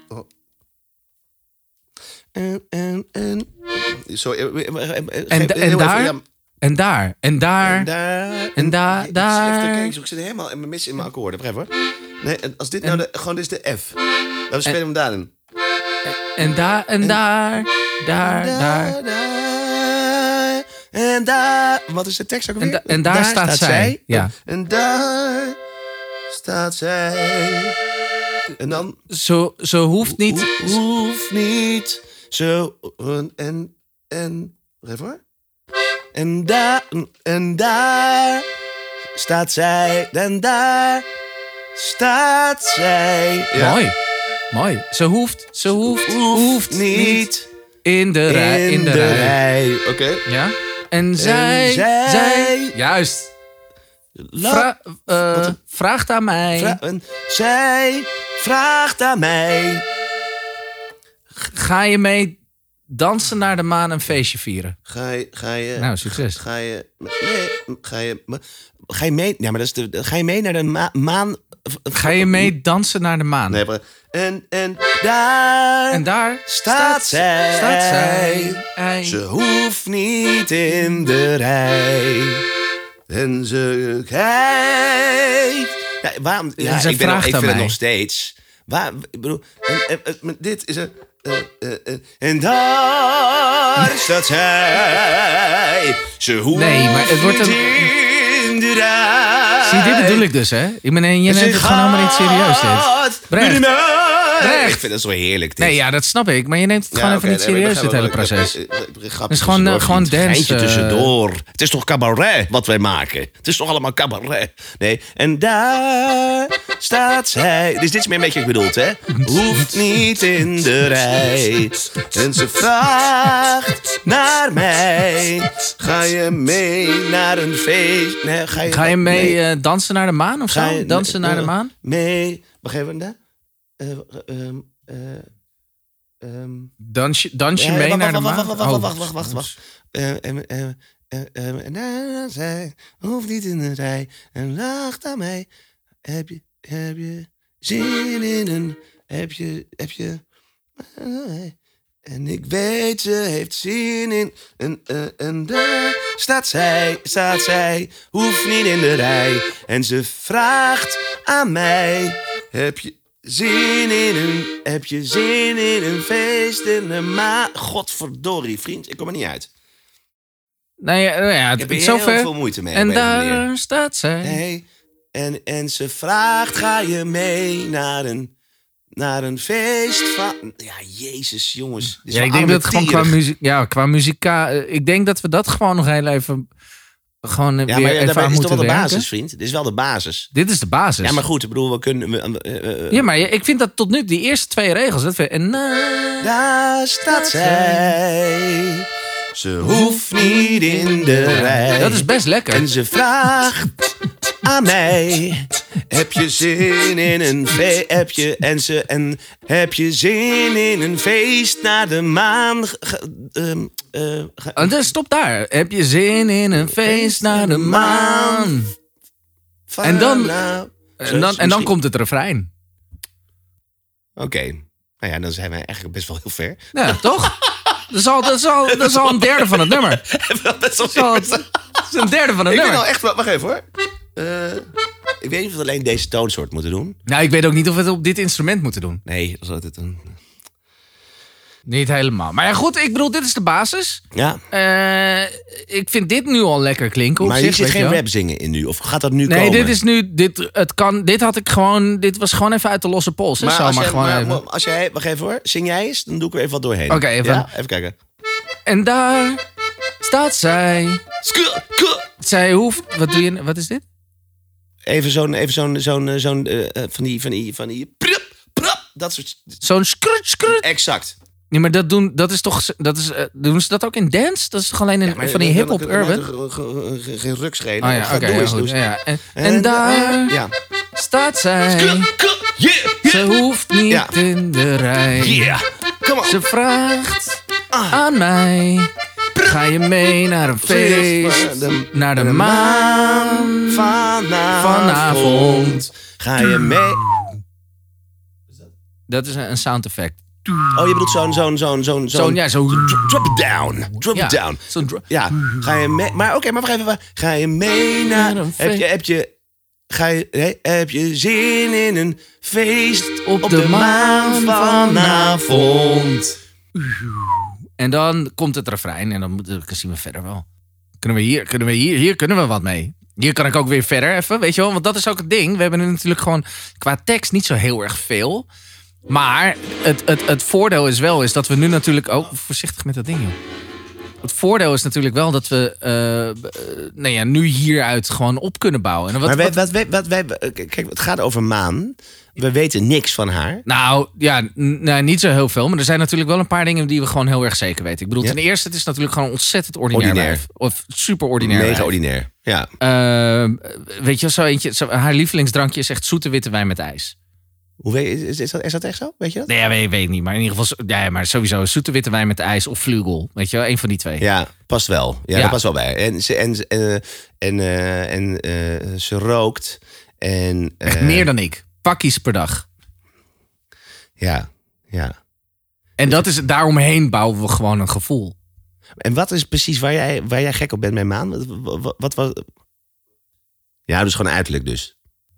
Speaker 1: Oh. En, en, en. Sorry. eh, eh, eh, eh, geef-
Speaker 2: En, da-
Speaker 1: heel
Speaker 2: en,
Speaker 1: even,
Speaker 2: daar,
Speaker 1: ja,
Speaker 2: en daar, en daar,
Speaker 1: En daar.
Speaker 2: en daar,
Speaker 1: Ik zit
Speaker 2: daar.
Speaker 1: even te kijken, zo, Ik zit helemaal in mijn mis in mijn akkoorden. Wacht even hoor. Nee, en als dit nou de, gewoon dit is de F. Dan spelen we hem daarin.
Speaker 2: en daar, en daar, daar, daar.
Speaker 1: daar, daar, En daar. Wat is de tekst ook
Speaker 2: En,
Speaker 1: alweer?
Speaker 2: da- en daar, staat, zij. Ja.
Speaker 1: En daar staat zij. En dan
Speaker 2: Zo, zo hoeft niet.
Speaker 1: Ho- hoeft niet zo en en en wacht even hoor. En daar en daar staat zij. En daar staat zij. Ja.
Speaker 2: Mooi, mooi. Ze hoeft, ze hoeft,
Speaker 1: Hoeft niet
Speaker 2: in de rij, in de rij.
Speaker 1: Oké.
Speaker 2: Ja. En zij,
Speaker 1: zij-
Speaker 2: zij, juist.
Speaker 1: La-
Speaker 2: Vra- eh, vraagt aan mij.
Speaker 1: vra- en zij vraagt aan mij.
Speaker 2: Ga je mee dansen naar de maan en feestje vieren?
Speaker 1: Ga je, ga je,
Speaker 2: Nou, succes.
Speaker 1: Ga je, nee, ga je, ga je mee? Ja, maar dat is de, ga je mee naar de ma- maan?
Speaker 2: Ga je mee dansen naar de maan?
Speaker 1: Nee, maar- en en daar.
Speaker 2: En daar
Speaker 1: Staat zij.
Speaker 2: Staat zij. Ei.
Speaker 1: Ze hoeft niet in de rij. En ze kijkt. Ja, waarom? Ja,
Speaker 2: En ze
Speaker 1: ik, ben,
Speaker 2: vraagt
Speaker 1: ik
Speaker 2: aan
Speaker 1: vind het
Speaker 2: mij.
Speaker 1: nog steeds. Waar, ik bedoel, en, en- en- maar dit is een. eh, eh, eh, en daar staat zij. Ze hoeft
Speaker 2: Nee, maar het wordt
Speaker 1: niet
Speaker 2: een-
Speaker 1: in de rij.
Speaker 2: Zie, dit bedoel ik dus, hè? Ik ben, je neemt
Speaker 1: Ze
Speaker 2: het gewoon helemaal niet serieus, dit.
Speaker 1: gaat
Speaker 2: Brecht.
Speaker 1: met mij.
Speaker 2: Brecht.
Speaker 1: Ik vind dat zo heerlijk. Dit.
Speaker 2: Nee, ja, dat snap ik. Maar je neemt het
Speaker 1: Ja,
Speaker 2: gewoon
Speaker 1: oké,
Speaker 2: even niet
Speaker 1: nee, maar ik
Speaker 2: serieus, dit hele
Speaker 1: begrijp wel. eh,
Speaker 2: proces.
Speaker 1: Ik- ik- ik- ik- ik- grapje
Speaker 2: is gewoon,
Speaker 1: tussendoor,
Speaker 2: eh, gewoon
Speaker 1: vriend.
Speaker 2: dance,
Speaker 1: Geintje
Speaker 2: eh.
Speaker 1: tussendoor. Het is toch cabaret wat wij maken? Het is toch allemaal cabaret? Nee, en daar staat zij. Dus dit is meer een beetje wat ik bedoeld, hè? Hoeft niet in de rij. En ze vraagt naar mij. Ga je mee naar een feest? Nee, ga je,
Speaker 2: Ga je mee
Speaker 1: nee.
Speaker 2: eh, dansen naar de maan of zo?
Speaker 1: Ga je-
Speaker 2: dansen naar de
Speaker 1: eh,
Speaker 2: maan?
Speaker 1: Mee. Wacht even, hè? Eh, ehm, eh, ehm.
Speaker 2: Dans je, dans je
Speaker 1: Ja,
Speaker 2: mee
Speaker 1: Eh, wacht,
Speaker 2: naar de
Speaker 1: wacht,
Speaker 2: maan?
Speaker 1: wacht, wacht,
Speaker 2: Oh.
Speaker 1: wacht, wacht, wacht, wacht. Eh, em, eh, eh, em, en daarna zij hoeft niet in de rij en lacht aan mij. Heb je, heb je zin in een, heb je, heb je. eh, En ik weet, ze heeft zin in. En, eh, en daar staat zij, staat zij, hoeft niet in de rij. En ze vraagt aan mij: Heb je zin in een, heb je zin in een feest in de ma. Godverdorie, vriend, ik kom er niet uit.
Speaker 2: Nou ja, nou ja,
Speaker 1: Ik heb er
Speaker 2: het,
Speaker 1: heel veel
Speaker 2: zover.
Speaker 1: moeite mee.
Speaker 2: En
Speaker 1: op een of andere manier.
Speaker 2: daar staat zij.
Speaker 1: Nee. En, en ze vraagt, ga je mee naar een, naar een feest van... Ja, jezus, jongens. Dit is
Speaker 2: Ja,
Speaker 1: wel
Speaker 2: ik denk dat het gewoon qua
Speaker 1: armetierig.
Speaker 2: muziek, ja, qua muzika, eh, ik denk dat we dat gewoon nog heel even, gewoon eh,
Speaker 1: Ja,
Speaker 2: weer
Speaker 1: maar
Speaker 2: even
Speaker 1: daarbij
Speaker 2: aan
Speaker 1: is toch
Speaker 2: moeten
Speaker 1: wel de
Speaker 2: werken.
Speaker 1: basis, vriend? Dit is wel de basis.
Speaker 2: Dit is de basis.
Speaker 1: Ja, maar goed, ik bedoel, we kunnen... we- eh, eh, eh,
Speaker 2: Ja, maar je- ik vind dat tot nu die eerste twee regels. Dat vind, en, eh,
Speaker 1: Daar staat zij. Ze hoeft niet in de rij.
Speaker 2: dat is best lekker.
Speaker 1: En ze vraagt aan mij: Heb je zin in een feest? Heb je, en ze, en, heb je zin in een feest naar de maan? Ge- ge- ehm, eh, ge-
Speaker 2: Ah, dus stop daar. Heb je zin in een feest naar de maan? en dan-
Speaker 1: nou,
Speaker 2: En dan, en dan
Speaker 1: misschien-
Speaker 2: komt het refrein.
Speaker 1: Oké. Nou ja, dan zijn we eigenlijk best wel heel ver.
Speaker 2: Ja, toch? Dat is, al, dat, is al, dat is al een derde van het nummer. Dat
Speaker 1: best wel
Speaker 2: is, al, dat is een derde van het
Speaker 1: Ik ben
Speaker 2: nummer.
Speaker 1: al echt... Wacht even hoor. Eh, ik weet niet of we alleen deze toonsoort moeten doen.
Speaker 2: Nou, ik weet ook niet of we het op dit instrument moeten doen.
Speaker 1: Nee, dat is altijd een...
Speaker 2: Niet helemaal. Maar ja, goed, ik bedoel, dit is de basis.
Speaker 1: Ja,
Speaker 2: Eh, ik vind dit nu al lekker klinken. Op
Speaker 1: maar
Speaker 2: zich,
Speaker 1: hier zit
Speaker 2: weet je
Speaker 1: geen
Speaker 2: wel.
Speaker 1: rap zingen in nu. Of gaat dat nu
Speaker 2: Nee,
Speaker 1: komen?
Speaker 2: dit is nu. Dit, het kan, dit had ik gewoon. Dit was gewoon even uit de losse pols. hè. Zomaar
Speaker 1: als jij,
Speaker 2: gewoon
Speaker 1: maar-
Speaker 2: even.
Speaker 1: maar als jij, wacht even hoor, zing jij eens, dan doe ik er even wat doorheen.
Speaker 2: Oké, even.
Speaker 1: Ja? Even kijken.
Speaker 2: En daar staat zij. Zij hoeft. Wat doe je? Wat is dit?
Speaker 1: Even zo'n, even zo'n, zo'n, zo'n, eh, eh, van die, van die, van die, prup, prup, dat soort,
Speaker 2: Zo'n skrut, skrut.
Speaker 1: exact.
Speaker 2: Nee, maar dat doen. Dat is toch. Dat is, eh, doen ze dat ook in dance? Dat is toch alleen in,
Speaker 1: Maar
Speaker 2: van die
Speaker 1: dan-
Speaker 2: hip-hop
Speaker 1: dan- dan-
Speaker 2: urban?
Speaker 1: dan- dan- dan- dan- dan- Geen rukschreden.
Speaker 2: Ah ja, oké. ja, goed. Ja, ja. En, en daar
Speaker 1: Ja.
Speaker 2: staat zij.
Speaker 1: Kut, kut, Yeah,
Speaker 2: Ze hoeft niet
Speaker 1: Ja.
Speaker 2: in de rij.
Speaker 1: yeah. Come on.
Speaker 2: Ze vraagt aan mij. Ga je mee naar een feest?
Speaker 1: De-
Speaker 2: Naar de maan.
Speaker 1: Vanavond,
Speaker 2: Vanavond.
Speaker 1: ga je mee.
Speaker 2: Dat is een een sound effect.
Speaker 1: Oh, je bedoelt zo'n, zo'n, zo'n, zo'n,
Speaker 2: Zo'n, ja, zo.
Speaker 1: Drop it down. Drop
Speaker 2: Ja,
Speaker 1: it down.
Speaker 2: zo'n dro-
Speaker 1: Ja, ga je mee. Maar oké, maar wacht even. wacht. Ga je mee naar.
Speaker 2: Naar een
Speaker 1: Heb je.
Speaker 2: feest.
Speaker 1: Heb je, ga je hè, heb je zin in een feest
Speaker 2: Op de maan
Speaker 1: vanavond?
Speaker 2: En dan komt het refrein en dan, moet- dan zien we verder wel. Kunnen we hier, kunnen we hier, hier kunnen we wat mee. Hier kan ik ook weer verder even, weet je wel. Want dat is ook het ding. We hebben er natuurlijk gewoon qua tekst niet zo heel erg veel. Maar het, het, het voordeel is wel is dat we nu natuurlijk ook... voorzichtig met dat ding, joh. Het voordeel is natuurlijk wel dat we eh, b- eh, nou ja, nu hieruit gewoon op kunnen bouwen. En wat,
Speaker 1: Maar wij,
Speaker 2: wat-
Speaker 1: wat, wij, wat wij. Kijk, het gaat over maan. We weten niks van haar.
Speaker 2: Nou, ja, n- nou, niet zo heel veel. Maar er zijn natuurlijk wel een paar dingen die we gewoon heel erg zeker weten. Ik bedoel,
Speaker 1: Ja.
Speaker 2: ten eerste, het is natuurlijk gewoon een ontzettend ordinair,
Speaker 1: Ordinair.
Speaker 2: wijf. Of super ordinair
Speaker 1: Mega
Speaker 2: wijf.
Speaker 1: ordinair. Ja.
Speaker 2: Eh, weet je wel, zo eentje, zo- haar lievelingsdrankje is echt zoete witte wijn met ijs.
Speaker 1: Hoe weet, is, is, dat, is dat echt zo? Weet je dat?
Speaker 2: Nee, ja, weet, weet ik niet. Maar in ieder geval, zo- ja, maar sowieso zoete witte wijn met ijs of vlugel. Weet je wel, een van die twee.
Speaker 1: Ja, past wel. Ja,
Speaker 2: Ja.
Speaker 1: dat past wel bij. En ze, en, ze- en, eh, en, eh, en eh, ze rookt. En, eh,
Speaker 2: Echt meer dan ik. Pakkies per dag.
Speaker 1: Ja, ja.
Speaker 2: En dat is, daaromheen bouwen we gewoon een gevoel.
Speaker 1: En wat is precies waar jij, waar jij gek op bent met Maan? Wat, wat, wat, wat- Ja, dus gewoon uiterlijk dus.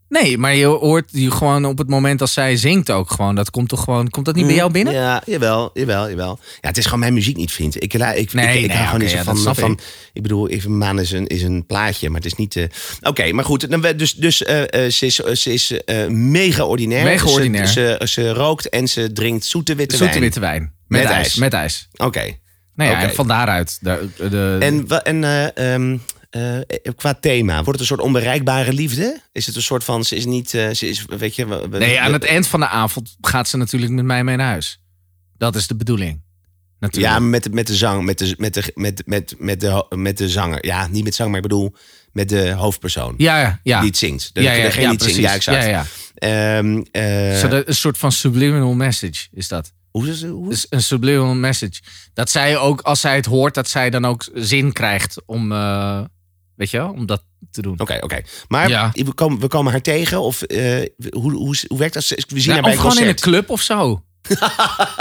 Speaker 2: Nee, maar je hoort je gewoon op het moment als zij zingt ook gewoon. Dat komt toch gewoon, komt dat niet bij jou binnen?
Speaker 1: Hm, Ja, jawel, jawel, jawel. Ja, het is gewoon mijn muziek niet, vriend. Ik, la- ik,
Speaker 2: Nee,
Speaker 1: ik, ik
Speaker 2: nee,
Speaker 1: hou gewoon
Speaker 2: oké,
Speaker 1: niet zo
Speaker 2: ja,
Speaker 1: van...
Speaker 2: dat snap
Speaker 1: van ik bedoel, even, Maan is een, is een plaatje, maar het is niet... eh, Oké, maar goed. Dan, we- dus dus eh, eh, ze is, ze is eh, mega ordinair.
Speaker 2: Mega
Speaker 1: Ze-
Speaker 2: ordinair.
Speaker 1: Ze, ze, rookt en ze drinkt zoete witte
Speaker 2: Zoete
Speaker 1: wijn.
Speaker 2: witte wijn. Met,
Speaker 1: Met
Speaker 2: ijs.
Speaker 1: ijs.
Speaker 2: Met ijs.
Speaker 1: Oké.
Speaker 2: Nou ja,
Speaker 1: Oké.
Speaker 2: en van daaruit. De, de,
Speaker 1: En, wa- en eh, ehm, eh, qua thema, wordt het een soort onbereikbare liefde? Is het een soort van, ze is niet, eh, ze is, weet je... we- we-
Speaker 2: nee, aan
Speaker 1: we-
Speaker 2: het eind van de avond gaat ze natuurlijk met mij mee naar huis. Dat is de bedoeling. Natuurlijk.
Speaker 1: Ja, met, de- met de zang, met de, met, de, met, met, met, de, ho- met de zanger. Ja, niet met zang, maar ik bedoel met de hoofdpersoon.
Speaker 2: Ja, ja, ja.
Speaker 1: Die het zingt.
Speaker 2: ja, ja,
Speaker 1: degene
Speaker 2: ja,
Speaker 1: die het zingt. Ja,
Speaker 2: precies.
Speaker 1: exact.
Speaker 2: Ja, ja.
Speaker 1: Ehm, eh,
Speaker 2: Zodat- een soort van subliminal message is dat.
Speaker 1: hoe is het? Hoe?
Speaker 2: Dus een subliminal message. Dat zij ook, als zij het hoort, dat zij dan ook zin krijgt om, eh, weet je wel, om dat te doen.
Speaker 1: Oké, oké. Maar
Speaker 2: Ja.
Speaker 1: we, komen, we komen haar tegen of eh, hoe, hoe, hoe werkt dat? We zien
Speaker 2: Nou,
Speaker 1: haar bij
Speaker 2: of
Speaker 1: een
Speaker 2: gewoon in een
Speaker 1: concert.
Speaker 2: club of zo.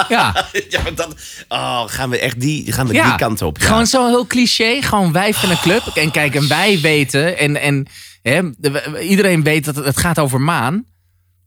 Speaker 2: ja,
Speaker 1: ja, maar dan oh, gaan we echt die, gaan we
Speaker 2: Ja.
Speaker 1: die kant op. Ja.
Speaker 2: Gewoon zo heel cliché, gewoon wijf in een club. En kijk, en wij weten, en, en hè, de- we- iedereen weet dat het, het gaat over maan.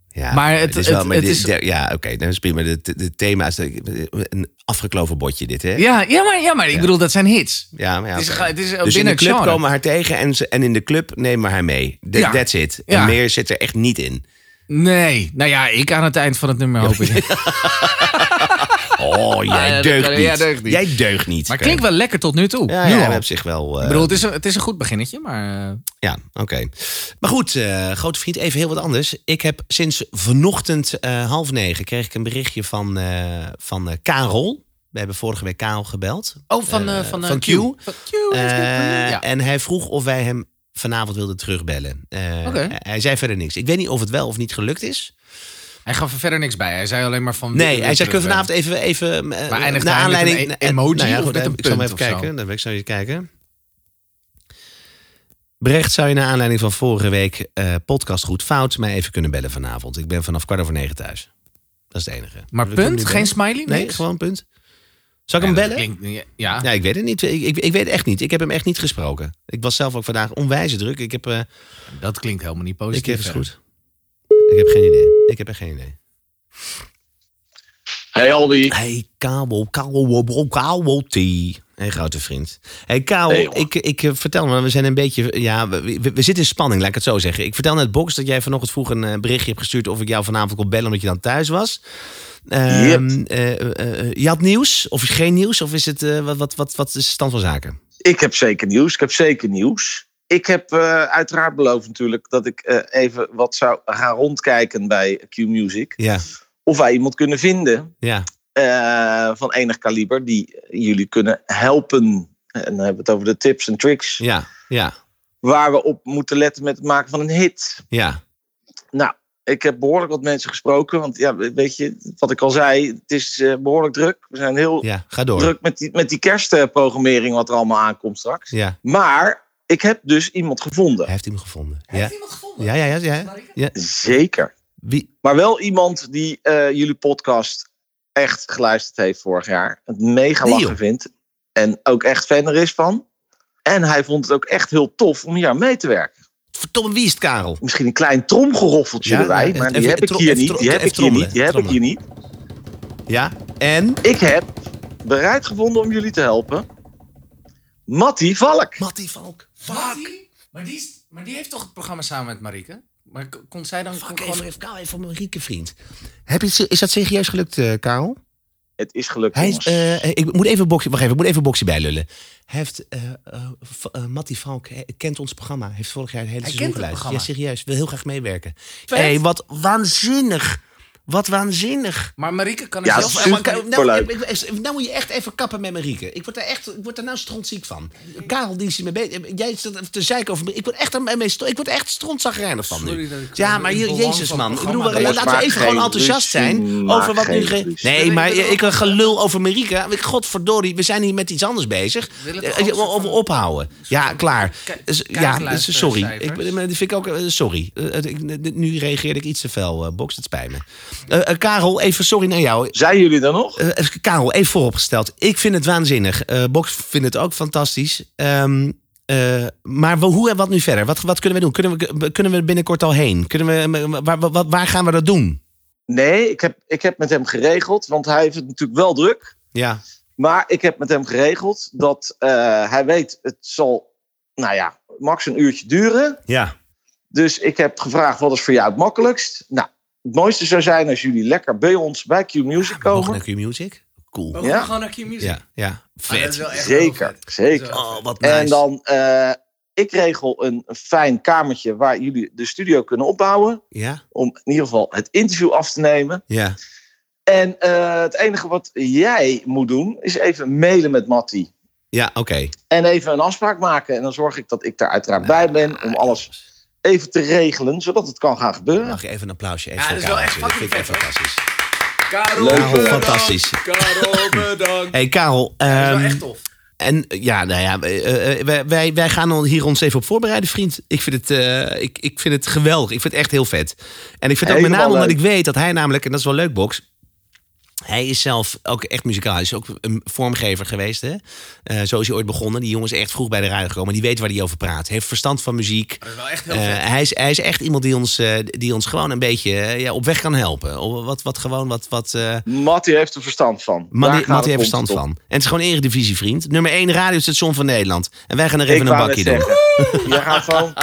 Speaker 1: Ja,
Speaker 2: Maar het-
Speaker 1: is
Speaker 2: het-
Speaker 1: wel, maar
Speaker 2: het
Speaker 1: dit-
Speaker 2: is-
Speaker 1: de- ja, oké, dan is prima. De, de, de thema is de- een afgekloven botje dit, hè?
Speaker 2: Ja, ja maar, ja, maar ik bedoel, dat zijn hits.
Speaker 1: Ja, maar ja,
Speaker 2: Het is,
Speaker 1: oké.
Speaker 2: ge- het is eh,
Speaker 1: Dus in
Speaker 2: binnen
Speaker 1: de
Speaker 2: het
Speaker 1: club
Speaker 2: genre.
Speaker 1: komen we haar tegen en, ze, en in de club nemen we haar mee. That-
Speaker 2: Ja.
Speaker 1: That's it. En
Speaker 2: Ja.
Speaker 1: meer zit er echt niet in.
Speaker 2: Nee, nou ja, ik aan het eind van het nummer hoop ik.
Speaker 1: Oh, jij
Speaker 2: ja, dat
Speaker 1: deugt,
Speaker 2: kan-
Speaker 1: niet.
Speaker 2: ja, deugt niet.
Speaker 1: Jij deugt niet. Eh,
Speaker 2: Maar het klinkt wel lekker tot nu toe.
Speaker 1: Ja,
Speaker 2: Nu
Speaker 1: ja,
Speaker 2: al.
Speaker 1: op zich wel. eh,
Speaker 2: Ik bedoel, het is, een, het is een goed beginnetje, maar... eh,
Speaker 1: Ja, oké. Maar goed, eh, grote vriend, even heel wat anders. Ik heb sinds vanochtend eh, half negen kreeg ik een berichtje van, eh, van eh, Karel. We hebben vorige week Karel gebeld.
Speaker 2: Oh, van,
Speaker 1: Eh,
Speaker 2: eh, van, eh,
Speaker 1: van Q.
Speaker 2: Van Q, Oh, is dit-
Speaker 1: Eh,
Speaker 2: ja.
Speaker 1: En hij vroeg of wij hem vanavond wilden terugbellen. Eh,
Speaker 2: Oké.
Speaker 1: Hij zei verder niks. Ik weet niet of het wel of niet gelukt is.
Speaker 2: Hij gaf er verder niks bij. Hij zei alleen maar van...
Speaker 1: Nee, hij zei kunnen we vanavond even... even eh, maar
Speaker 2: eindigt hij met een
Speaker 1: eh,
Speaker 2: e- emoji
Speaker 1: nou
Speaker 2: of met een
Speaker 1: Ik zal maar even
Speaker 2: punt of zo?
Speaker 1: kijken. Dan ben ik zo even kijken. Brecht, zou je naar aanleiding van vorige week eh, podcast Goed Fout... mij even kunnen bellen vanavond? Ik ben vanaf kwart over negen thuis. Dat is het enige.
Speaker 2: Maar
Speaker 1: We kunnen
Speaker 2: punt?
Speaker 1: nu
Speaker 2: Geen
Speaker 1: bellen.
Speaker 2: smiley?
Speaker 1: Nee,
Speaker 2: niks?
Speaker 1: gewoon punt. Zal ik
Speaker 2: Ja,
Speaker 1: hem
Speaker 2: dat
Speaker 1: bellen?
Speaker 2: klinkt- ja.
Speaker 1: Ja, ik weet het niet. Ik, ik, ik weet echt niet. Ik heb hem echt niet gesproken. Ik was zelf ook vandaag onwijs druk. Ik heb... eh,
Speaker 2: dat klinkt helemaal niet
Speaker 1: ik
Speaker 2: positief.
Speaker 1: heb
Speaker 2: hè.
Speaker 1: het goed. Ik heb geen idee. Ik heb echt geen idee.
Speaker 3: Hey Aldi.
Speaker 1: Hey, kabel, kabel, kabel, Hey, grote vriend. Hey, Karel,
Speaker 3: Hey, jongen.
Speaker 1: ik, ik eh, vertel me, we zijn een beetje... Ja, we, we, we zitten in spanning, laat ik het zo zeggen. Ik vertel net Box dat jij vanochtend vroeg een eh, berichtje hebt gestuurd... of ik jou vanavond kon bellen omdat je dan thuis was. Ehm, eh, eh, eh, je had nieuws, of geen nieuws? Of is het, eh, wat, wat, wat, wat is de stand van zaken?
Speaker 3: Ik heb zeker nieuws. Ik heb zeker nieuws. Ik heb eh, uiteraard beloofd natuurlijk dat ik eh, even wat zou gaan rondkijken bij Q-Music.
Speaker 1: Ja,
Speaker 3: Of wij iemand kunnen vinden
Speaker 1: ja.
Speaker 3: eh, van enig kaliber die jullie kunnen helpen. En dan hebben we het over de tips en tricks
Speaker 1: Ja, ja,
Speaker 3: waar we op moeten letten met het maken van een hit.
Speaker 1: ja.
Speaker 3: Nou, ik heb behoorlijk wat mensen gesproken. Want ja, weet je, wat ik al zei, het is eh, behoorlijk druk. We zijn heel
Speaker 1: ja. Ga door.
Speaker 3: druk met die, met die kerstprogrammering wat er allemaal aankomt straks.
Speaker 1: Ja,
Speaker 3: Maar ik heb dus iemand gevonden.
Speaker 1: hij heeft hem gevonden.
Speaker 2: Heeft
Speaker 1: Ja,
Speaker 2: iemand gevonden?
Speaker 1: ja, ja. ja, ja.
Speaker 3: Zeker.
Speaker 1: Wie?
Speaker 3: Maar wel iemand die eh, jullie podcast echt geluisterd heeft vorig jaar. Het mega
Speaker 1: Nee,
Speaker 3: lachen
Speaker 1: joh.
Speaker 3: vindt. En ook echt fan er is van. En hij vond het ook echt heel tof om hier aan mee te werken.
Speaker 1: Verdomme, wie is het, Karel?
Speaker 3: Misschien een klein tromgeroffeltje
Speaker 1: Ja,
Speaker 3: erbij.
Speaker 1: ja,
Speaker 3: maar die
Speaker 1: even-
Speaker 3: heb ik
Speaker 1: tro-
Speaker 3: hier
Speaker 1: even
Speaker 3: niet.
Speaker 1: tro-
Speaker 3: Die heb
Speaker 1: even
Speaker 3: ik hier niet.
Speaker 1: trommelen,
Speaker 3: Die heb ik hier
Speaker 1: trommelen.
Speaker 3: niet.
Speaker 1: Ja, en?
Speaker 3: Ik heb bereid gevonden om jullie te helpen. Mattie Valk.
Speaker 1: Mattie Valk.
Speaker 2: Wat? Maar die, is- maar die heeft toch het programma samen met Marieke? Maar k- kon zij dan
Speaker 1: Fuck,
Speaker 2: kon-
Speaker 1: even, even, Karel, even voor mijn rieke vriend. Heb je, het se- is dat serieus gelukt, eh, Karel?
Speaker 3: Het is gelukt.
Speaker 1: Hij,
Speaker 3: jongens.
Speaker 1: is, eh, ik moet even boxje, wacht even, ik moet even boxje bijlullen. Hij heeft, eh eh, v- eh, Mattie Valk eh, kent ons programma. Hij heeft vorig jaar het hele
Speaker 2: Hij
Speaker 1: seizoen
Speaker 2: kent het
Speaker 1: geluisterd. Ja, serieus. Wil heel graag meewerken. Hé,
Speaker 2: Vet.
Speaker 1: hey, wat waanzinnig. Wat waanzinnig.
Speaker 2: Maar Marieke kan
Speaker 3: Ja,
Speaker 2: het zelf...
Speaker 3: super.
Speaker 1: Maar Karel, nou,
Speaker 3: leuk.
Speaker 1: ik- ik- nou moet je echt even kappen met Marieke. Ik word daar echt, ik word daar nou strontziek van. Karel, die is hier mee bezig. Jij zit te zeiken over me. Ik word echt, aan mij mee stro- ik word echt strontzagerijnig van nu.
Speaker 2: Sorry dat ik-
Speaker 1: Ja, maar
Speaker 2: in
Speaker 1: je-
Speaker 2: belang van
Speaker 1: jezus
Speaker 2: het
Speaker 1: man. Ik
Speaker 2: programma
Speaker 1: bedoel,
Speaker 2: ben.
Speaker 1: laten we
Speaker 3: Maak
Speaker 1: even gewoon
Speaker 3: geen
Speaker 1: enthousiast
Speaker 3: ruzie,
Speaker 1: zijn
Speaker 3: maak
Speaker 1: over wat nu...
Speaker 3: geen
Speaker 1: Ge...
Speaker 3: ruzie.
Speaker 1: Nee, maar ik een gelul over Marieke. Ik- Godverdorie, we zijn hier met iets anders bezig.
Speaker 2: Wil het
Speaker 1: Eh,
Speaker 2: gewoon soort
Speaker 1: Over
Speaker 2: van-
Speaker 1: ophouden. Ja, klaar.
Speaker 2: Kijk,
Speaker 1: Dus-
Speaker 2: kijk,
Speaker 1: Ja, dus
Speaker 2: luister,
Speaker 1: sorry. Ik,
Speaker 2: cijfers.
Speaker 1: ben- maar die vind ik ook... eh, Sorry. Eh, eh, ik- Nu reageerde ik iets te fel, eh, Box. Het spijt me. Eh, eh, Karel, even sorry naar jou.
Speaker 3: Zijn jullie er nog?
Speaker 1: Eh, even- Karel, even vooropgesteld. Ik vind het waanzinnig. Eh, Box vindt het ook fantastisch. Ehm, eh, maar we- hoe en wat nu verder? Wat, wat kunnen we doen? Kunnen we, kunnen we binnenkort al heen? Kunnen we, eh, waar, waar, waar gaan we dat doen?
Speaker 3: Nee, ik heb, ik heb met hem geregeld, want hij heeft het natuurlijk wel druk.
Speaker 1: Ja,
Speaker 3: Maar ik heb met hem geregeld dat eh, hij weet, het zal, nou ja, max een uurtje duren.
Speaker 1: ja.
Speaker 3: Dus ik heb gevraagd, wat is voor jou het makkelijkst? Nou, het mooiste zou zijn als jullie lekker bij ons bij Q Music
Speaker 1: Mogen
Speaker 3: komen.
Speaker 1: naar Q-Music? Cool.
Speaker 2: We
Speaker 3: Ja.
Speaker 2: gaan gewoon naar Q-Music.
Speaker 1: Ja,
Speaker 2: Ah,
Speaker 1: ja. Vet.
Speaker 3: Zeker, zeker.
Speaker 1: Oh, wat nice.
Speaker 3: En dan, eh, ik regel een fijn kamertje waar jullie de studio kunnen opbouwen.
Speaker 1: Ja,
Speaker 3: Om in ieder geval het interview af te nemen.
Speaker 1: ja.
Speaker 3: En eh, het enige wat jij moet doen, is even mailen met Mattie.
Speaker 1: Ja, oké.
Speaker 3: En even een afspraak maken. En dan zorg ik dat ik daar uiteraard bij ben om alles even te regelen, zodat het kan gaan gebeuren.
Speaker 1: Mag ik even een applausje? Even
Speaker 2: Ja,
Speaker 1: voor
Speaker 2: dat is wel
Speaker 1: Karel,
Speaker 2: echt
Speaker 1: Dat vind ik echt
Speaker 2: fucking
Speaker 1: fantastisch.
Speaker 2: Karel,
Speaker 3: Leuk.
Speaker 1: Karel,
Speaker 3: bedankt.
Speaker 1: fantastisch. Ehm,
Speaker 2: Karel, bedankt.
Speaker 1: hey, Karel.
Speaker 2: Dat is wel
Speaker 1: ehm,
Speaker 2: echt tof.
Speaker 1: En eh, ja, nou ja, eh, eh, wij- wij, wij gaan al hier ons even op voorbereiden, vriend. Ik vind, het, eh, ik, ik vind het geweldig. Ik vind het echt heel vet. En ik vind het ook met
Speaker 3: Helemaal
Speaker 1: name omdat
Speaker 3: leuk.
Speaker 1: ik weet dat hij namelijk, en dat is wel leuk, Box. Hij is zelf ook echt muzikaal. Hij is ook een vormgever geweest. Hè? Eh, zo is hij ooit begonnen. Die jongen is echt vroeg bij de radio gekomen. Die weet waar hij over praat. Hij heeft verstand van muziek.
Speaker 2: Dat is wel echt heel
Speaker 1: Eh,
Speaker 2: vet.
Speaker 1: hij, is, hij is echt iemand die ons, eh, die ons gewoon een beetje eh, ja, op weg kan helpen. Op- Wat, wat gewoon wat, wat, eh,
Speaker 3: Mattie heeft er verstand van. Daar
Speaker 1: Mattie,
Speaker 3: gaat
Speaker 1: Mattie
Speaker 3: het
Speaker 1: heeft verstand
Speaker 3: om.
Speaker 1: van. En het is gewoon eredivisie, vriend. Nummer 1 radiostation van Nederland. En wij gaan er even
Speaker 3: Ik
Speaker 1: een
Speaker 3: wou
Speaker 1: bakje
Speaker 3: net
Speaker 1: doen.
Speaker 3: zeggen, je gaat gewoon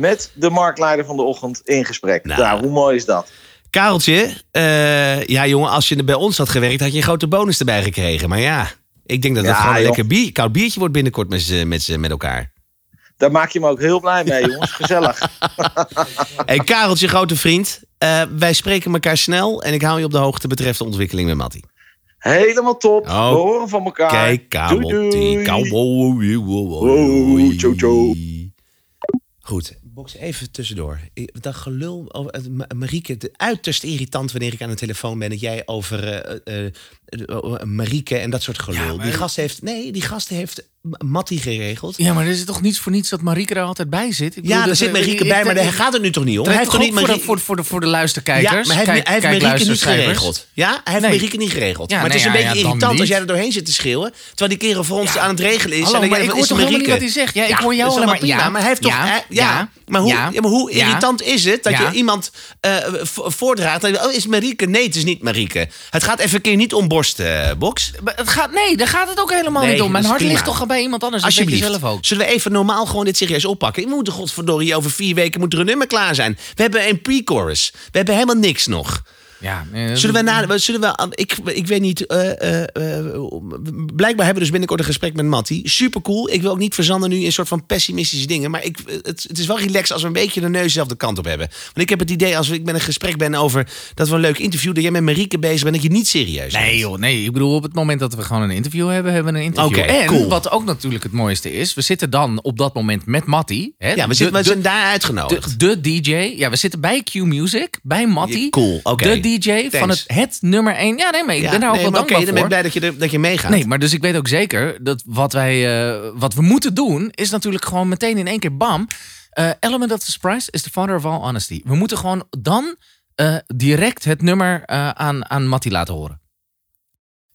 Speaker 3: met de marktleider van de ochtend in gesprek.
Speaker 1: Nou.
Speaker 3: Nou, hoe mooi is dat?
Speaker 1: Kareltje, eh, ja jongen, als je bij ons had gewerkt, had je een grote bonus erbij gekregen. Maar ja, ik denk dat het
Speaker 3: Ja,
Speaker 1: gewoon een
Speaker 3: joh.
Speaker 1: lekker bier, koud biertje wordt binnenkort met, z'n- met, z'n- met elkaar.
Speaker 3: Daar maak je me ook heel blij mee, jongens.
Speaker 1: Nou.
Speaker 3: Gezellig.
Speaker 1: hey, Kareltje, grote vriend. eh, wij spreken elkaar snel en ik hou je op de hoogte betreft de ontwikkeling met Mattie.
Speaker 3: Helemaal top. We
Speaker 1: Oh,
Speaker 3: horen van elkaar.
Speaker 1: Kijk,
Speaker 3: Doei,
Speaker 1: kabeltje.
Speaker 3: doei.
Speaker 1: Cowboy.
Speaker 3: Wow, ciao, ciao.
Speaker 1: Goed, box even tussendoor. Ik- Dat gelul over eh, Ma- Marieke, het uiterst irritant wanneer ik aan de telefoon ben dat jij over eh, eh, eh, eh, Marieke en dat soort gelul.
Speaker 2: maar-
Speaker 1: Die gast heeft, nee, die gast heeft Mattie geregeld.
Speaker 2: Ja, maar er is toch niets voor niets dat Marieke er altijd bij zit? Ik bedoel,
Speaker 1: Ja, daar
Speaker 2: dat- eh,
Speaker 1: zit Marieke
Speaker 2: ik-
Speaker 1: bij,
Speaker 2: ik-
Speaker 1: maar daar gaat het nu toch niet om? Hij heeft toch niet
Speaker 2: voor, de,
Speaker 1: Marieke-
Speaker 2: voor, voor, de, voor de
Speaker 1: Ja,
Speaker 2: luisterkijkers.
Speaker 1: maar hij heeft,
Speaker 2: kijk-
Speaker 1: hij heeft Marieke niet
Speaker 2: kijkluisterschrijvers.
Speaker 1: geregeld. Ja, hij heeft
Speaker 2: Nee.
Speaker 1: Marieke niet geregeld.
Speaker 2: Ja,
Speaker 1: maar het
Speaker 2: nee,
Speaker 1: is een
Speaker 2: ja,
Speaker 1: beetje
Speaker 2: ja, dan
Speaker 1: irritant als
Speaker 2: niet.
Speaker 1: jij er doorheen zit te schreeuwen... terwijl die kerel voor ons aan het regelen is.
Speaker 2: Hallo,
Speaker 1: en dan
Speaker 2: maar
Speaker 1: denk
Speaker 2: ik
Speaker 1: je,
Speaker 2: hoor
Speaker 1: is
Speaker 2: toch helemaal niet wat
Speaker 1: Marieke?
Speaker 2: hij zegt? Ja, ik hoor jou
Speaker 1: dat is
Speaker 2: alleen maar...
Speaker 1: allemaal prima,
Speaker 2: ja,
Speaker 1: maar hij heeft toch...
Speaker 2: ja,
Speaker 1: hij- ja, maar hoe, ja, maar hoe
Speaker 2: ja.
Speaker 1: irritant is het dat
Speaker 2: Ja.
Speaker 1: je iemand eh, vo- voordraagt... dat je- oh, is Marieke? Nee, het is niet Marieke. Het gaat even een keer niet om borsten, eh, Box.
Speaker 2: Maar Het gaat, nee, daar gaat het ook helemaal
Speaker 1: Nee,
Speaker 2: niet om. Mijn
Speaker 1: dat is
Speaker 2: hart ligt
Speaker 1: prima.
Speaker 2: toch al bij iemand anders. Dat weet je
Speaker 1: Alsjeblieft.
Speaker 2: zelf ook.
Speaker 1: Zullen we even normaal gewoon dit serieus oppakken? Ik moet godverdorie over vier weken moet er een nummer klaar zijn. We hebben een pre-chorus. We hebben helemaal niks nog.
Speaker 2: Ja, eh,
Speaker 1: Zullen we na, zullen we, ik, ik weet niet, eh, eh, eh, blijkbaar hebben we dus binnenkort een gesprek met Matty. Super cool. Ik wil ook niet verzanden nu in soort van pessimistische dingen. Maar ik, eh, het, het is wel relaxed als we een beetje de neus zelf de kant op hebben. Want ik heb het idee als ik met een gesprek ben over dat we een leuk interview, dat jij met Marieke bezig bent, dat je niet serieus
Speaker 2: Nee
Speaker 1: bent.
Speaker 2: joh, nee. Ik bedoel, op het moment dat we gewoon een interview hebben, hebben we een interview.
Speaker 1: Oké,
Speaker 2: en
Speaker 1: cool.
Speaker 2: wat ook natuurlijk het mooiste is, we zitten dan op dat moment met Matty. Hè,
Speaker 1: Ja, we,
Speaker 2: de-
Speaker 1: zitten, we
Speaker 2: de-
Speaker 1: zijn daar
Speaker 2: de,
Speaker 1: uitgenodigd.
Speaker 2: de DJ. Ja, we zitten bij Q Music, bij Matty.
Speaker 1: Cool, oké.
Speaker 2: De DJ van
Speaker 1: Thanks.
Speaker 2: het, het nummer 1. Ja, nee, maar ik
Speaker 1: Ja,
Speaker 2: ben daar ook
Speaker 1: nee,
Speaker 2: wel dankbaar
Speaker 1: maar Oké, dan ben ik
Speaker 2: voor.
Speaker 1: blij dat je, er- dat je meegaat.
Speaker 2: Nee, maar dus ik weet ook zeker dat wat wij eh, wat we moeten doen is natuurlijk gewoon meteen in één keer bam. eh, element of the surprise is the father of all honesty. We moeten gewoon dan eh, direct het nummer eh, aan, aan Matty laten horen.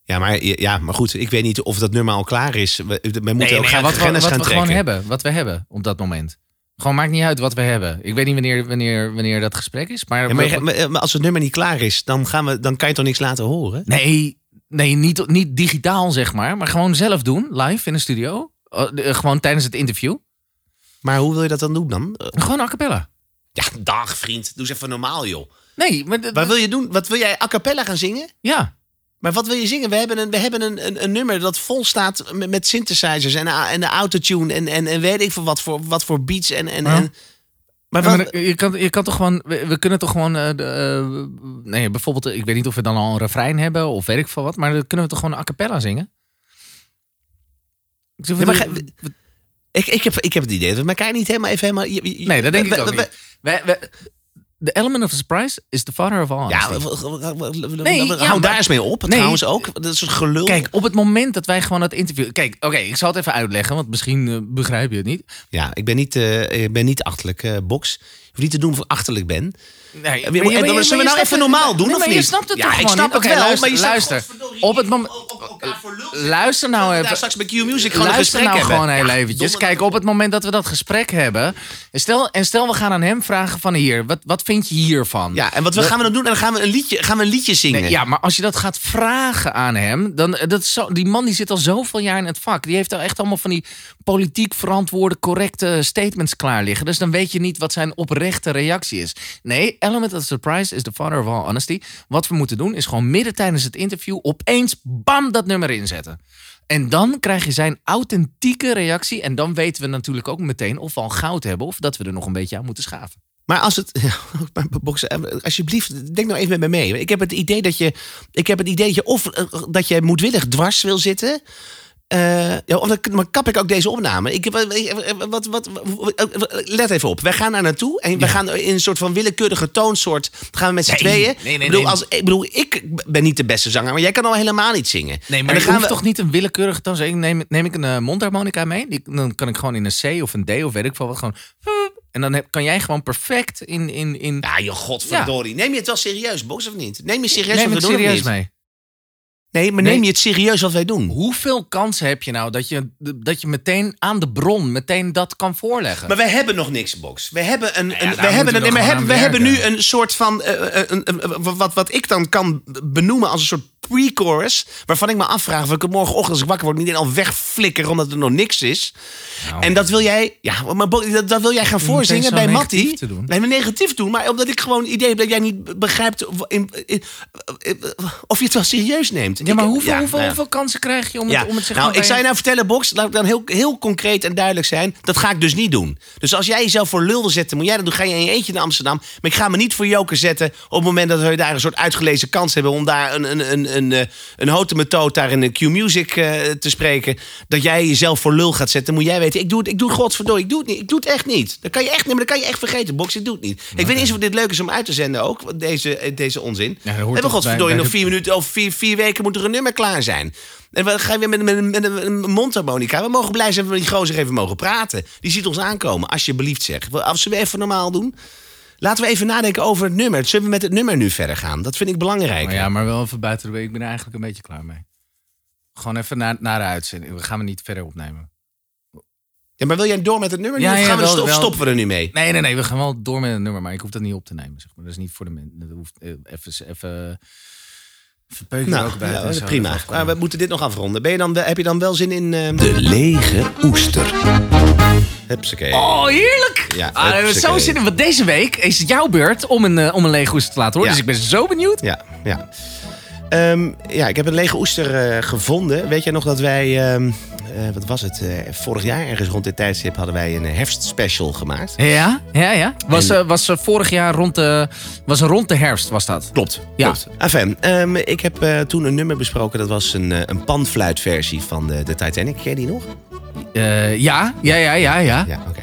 Speaker 1: Ja, maar, ja, maar goed, ik weet niet of dat nummer al klaar is. We, we moeten ook
Speaker 2: ja,
Speaker 1: gaan
Speaker 2: wat, we-
Speaker 1: kennis
Speaker 2: wat
Speaker 1: gaan
Speaker 2: we
Speaker 1: trekken.
Speaker 2: gewoon hebben, wat we hebben op dat moment. Gewoon maakt niet uit wat we hebben. Ik weet niet wanneer, wanneer, wanneer dat gesprek is, maar,
Speaker 1: Ja, maar, je- maar- maar als het nummer niet klaar is, dan, gaan we, dan kan je toch niks laten horen?
Speaker 2: nee, nee niet, niet digitaal zeg maar, maar gewoon zelf doen, live in de studio, Eh, eh, gewoon tijdens het interview,
Speaker 1: Maar hoe wil je dat dan doen dan? Eh,
Speaker 2: gewoon a cappella.
Speaker 1: Ja, dag vriend. Doe eens even normaal, joh.
Speaker 2: Nee, maar d-
Speaker 1: Wat wil je doen? Wat wil jij a cappella gaan zingen?
Speaker 2: ja.
Speaker 1: Maar wat wil je zingen? We hebben een, we hebben een, een, een nummer dat vol staat met, met synthesizers en, a- en de autotune en, en, en weet ik veel wat voor, wat voor beats en... en,
Speaker 2: Ja.
Speaker 1: en maar
Speaker 2: Ja,
Speaker 1: wat,
Speaker 2: maar je, kan, je kan toch gewoon, we, we kunnen toch gewoon, eh, de, eh, nee, bijvoorbeeld, eh, ik weet niet of we dan al een refrein hebben of weet ik veel wat, maar dan kunnen we toch gewoon a cappella zingen? Ik zeg,
Speaker 1: Ja, maar
Speaker 2: wat-
Speaker 1: ga- ik, ik, heb, ik heb het idee dat we elkaar niet helemaal even helemaal... je- je-
Speaker 2: Nee, dat denk ik
Speaker 1: we-
Speaker 2: ook
Speaker 1: we- we-
Speaker 2: niet. Wij- wij- the element of surprise is the father of all
Speaker 1: Ja,
Speaker 2: honesty.
Speaker 1: nee,
Speaker 2: Nee,
Speaker 1: hou
Speaker 2: ja,
Speaker 1: daar
Speaker 2: maar-
Speaker 1: eens mee op.
Speaker 2: Nee.
Speaker 1: Trouwens ook. Dat is een gelul.
Speaker 2: Kijk, op het moment dat wij gewoon dat interview... Kijk, oké, ik zal het even uitleggen, want misschien eh, begrijp je het niet.
Speaker 1: Ja, ik ben niet, eh, ik ben niet achterlijk, eh box. Je hoeft niet te doen of ik achterlijk ben.
Speaker 2: Nee,
Speaker 1: maar- maar- zullen we nou
Speaker 2: snapt
Speaker 1: even
Speaker 2: het-
Speaker 1: normaal doen,
Speaker 2: Nee,
Speaker 1: of
Speaker 2: maar je
Speaker 1: niet?
Speaker 2: snapt het
Speaker 1: Ja,
Speaker 2: toch
Speaker 1: ik
Speaker 2: gewoon
Speaker 1: snap
Speaker 2: niet?
Speaker 1: het
Speaker 2: Oké,
Speaker 1: wel,
Speaker 2: luister,
Speaker 1: maar je snapt
Speaker 2: luister.
Speaker 1: godverdorie
Speaker 2: Op het moment... Luister nou
Speaker 1: Daar
Speaker 2: even.
Speaker 1: straks bij Q Music gewoon een
Speaker 2: Luister
Speaker 1: gesprek
Speaker 2: nou
Speaker 1: hebben.
Speaker 2: gewoon heel
Speaker 1: Ja,
Speaker 2: eventjes.
Speaker 1: domme-
Speaker 2: Kijk, op het moment dat we dat gesprek hebben... En stel, en stel we gaan aan hem vragen van hier, wat, wat vind je hiervan?
Speaker 1: Ja, en wat we gaan we dan doen? En dan gaan we een liedje, gaan we een liedje zingen.
Speaker 2: Nee, ja, maar als je dat gaat vragen aan hem, dan eh, dat is zo, die man die zit al zoveel jaar in het vak. Die heeft al echt allemaal van die politiek verantwoorde, correcte statements klaar liggen. Dus dan weet je niet wat zijn oprechte reactie is. Nee, element of surprise is the father of all honesty. Wat we moeten doen is gewoon midden tijdens het interview opeens bam dat nummer inzetten. En dan krijg je zijn authentieke reactie. En dan weten we natuurlijk ook meteen of we al goud hebben of dat we er nog een beetje aan moeten schaven.
Speaker 1: Maar als het. maar Boksen, eh, alsjeblieft, denk nou even met me mee. Ik heb het idee dat je. Ik heb het idee dat je. Of eh, dat je moedwillig dwars wil zitten. Eh, ja, of dan, maar kap ik ook deze opname. Ik, wat, eh, wat, wat, eh, let even op. Wij gaan daar naartoe en we gaan in een soort van willekeurige toonsoort. Gaan we met z'n tweeën.
Speaker 2: nee, nee,
Speaker 1: ik, bedoel,
Speaker 2: nee.
Speaker 1: Als, ik bedoel, ik ben niet de beste zanger, maar jij kan al helemaal niet zingen.
Speaker 2: Nee, maar
Speaker 1: En
Speaker 2: dan
Speaker 1: dan
Speaker 2: gaan we toch niet een willekeurige toon. zeggen. Neem, neem ik een eh, mondharmonica mee, die, dan kan ik gewoon in een C of een D of weet ik veel wat gewoon. En dan heb- kan jij gewoon perfect in. in, in
Speaker 1: Ja, je godverdorie. Neem je het wel serieus, Box, of niet? Neem je serieus
Speaker 2: neem
Speaker 1: wat
Speaker 2: het
Speaker 1: we doen of
Speaker 2: serieus
Speaker 1: niet?
Speaker 2: mee.
Speaker 1: Nee, maar neem
Speaker 2: Nee.
Speaker 1: je het serieus wat wij doen?
Speaker 2: Hoeveel kans heb je nou dat je, dat je meteen aan de bron meteen dat kan voorleggen?
Speaker 1: Maar we hebben nog niks, Box. We hebben, een,
Speaker 2: Nou ja,
Speaker 1: een-
Speaker 2: daar
Speaker 1: we hebben,
Speaker 2: moeten we
Speaker 1: een, nee, maar
Speaker 2: gewoon
Speaker 1: hebben, we
Speaker 2: aan
Speaker 1: hebben nu
Speaker 2: werken.
Speaker 1: een soort van. eh, eh, een- een- een- wat, wat ik dan kan benoemen als een soort pre-chorus. Waarvan ik me afvraag of ik het morgenochtend als ik wakker word niet al wegflikker omdat er nog niks is.
Speaker 2: Nou.
Speaker 1: En dat wil jij. Ja, maar Box, dat, dat wil jij gaan
Speaker 2: meteen
Speaker 1: voorzingen
Speaker 2: zo
Speaker 1: bij
Speaker 2: negatief
Speaker 1: Matty.
Speaker 2: te doen.
Speaker 1: Nee, maar negatief doen. Maar omdat ik gewoon het idee heb dat jij niet begrijpt of, in- in- of je het wel serieus neemt.
Speaker 2: ja, maar
Speaker 1: Ik-
Speaker 2: hoeveel,
Speaker 1: ja,
Speaker 2: hoeveel,
Speaker 1: nou ja.
Speaker 2: hoeveel kansen krijg je om
Speaker 1: Ja,
Speaker 2: het, om het zeg
Speaker 1: nou,
Speaker 2: maar
Speaker 1: ik
Speaker 2: bij-
Speaker 1: zou je nou vertellen, Box, laat ik dan heel, heel concreet en duidelijk zijn. Dat ga ik dus niet doen. Dus als jij jezelf voor lul wil zetten, moet jij dat doen. Ga je in je eentje naar Amsterdam. Maar ik ga me niet voor joker zetten op het moment dat we daar een soort uitgelezen kans hebben om daar een, een, een, een, eh, een houten methode daar in de Q-Music eh, te spreken. Dat jij jezelf voor lul gaat zetten. Moet jij weten, ik doe het, ik doe het godverdorie, ik doe het niet. Ik doe het echt niet. Dat kan je echt, nee, maar dat kan je echt vergeten. Box, ik doe het niet. Ik weet niet eens of dit leuk is om uit te zenden ook, want deze, eh, deze onzin.
Speaker 2: dat hoort
Speaker 1: We hebben
Speaker 2: toch
Speaker 1: godverdorie
Speaker 2: bij- bij
Speaker 1: nog
Speaker 2: de-
Speaker 1: vier minuten, over vier, vier weken moet er een nummer klaar zijn. En dan ga je weer met, met, met een- met een mondharmonica. We mogen blij zijn dat we met die gozer even mogen praten. Die ziet ons aankomen, alsjeblieft zeg. Wel, Als we even normaal doen. Laten we even nadenken over het nummer. Zullen we met het nummer nu verder gaan? Dat vind ik belangrijk.
Speaker 2: Maar Oh ja, maar wel even buiten de week. Ik ben er eigenlijk een beetje klaar mee. Gewoon even naar, naar de uitzending. We gaan me niet verder opnemen.
Speaker 1: Ja, maar wil jij door met het nummer nu?
Speaker 2: Ja,
Speaker 1: of
Speaker 2: ja,
Speaker 1: gaan we
Speaker 2: wel-
Speaker 1: sto- of
Speaker 2: wel.
Speaker 1: stoppen we er nu mee?
Speaker 2: Nee, nee, nee. We gaan wel door met het nummer. Maar ik hoef dat niet op te nemen. Zeg maar. Dat is niet voor de mensen. Dat hoeft eh, even... even even peuken er
Speaker 1: Nou,
Speaker 2: ook buiten
Speaker 1: ja,
Speaker 2: en zo.
Speaker 1: prima.
Speaker 2: Dat is wel
Speaker 1: Maar we
Speaker 2: cool.
Speaker 1: moeten dit nog afronden. Ben je dan, wel- heb je dan wel zin in... ehm
Speaker 4: De lege oester.
Speaker 1: Hupsakee.
Speaker 2: Oh, heerlijk!
Speaker 1: Ja,
Speaker 2: Ah, we hebben zo
Speaker 1: hupsakee.
Speaker 2: zin in. Want deze week is het jouw beurt om een, eh, om een lege oester te laten horen.
Speaker 1: Ja.
Speaker 2: Dus ik ben zo benieuwd.
Speaker 1: Ja, ja. Ehm, ja, ik heb een lege oester eh, gevonden. Weet jij nog dat wij, ehm, eh, wat was het, eh, vorig jaar ergens rond dit tijdstip hadden wij een eh, herfstspecial gemaakt.
Speaker 2: Ja, ja, ja. Was, eh, was eh, vorig jaar rond de, was rond de herfst, was dat?
Speaker 1: Klopt.
Speaker 2: Ja.
Speaker 1: klopt. Enfin, ehm, ik heb eh, toen een nummer besproken. Dat was een, eh, een panfluitversie van de, de Titanic. Ken je die nog?
Speaker 2: Eh, ja, ja, ja, ja, ja.
Speaker 1: Ja, oké.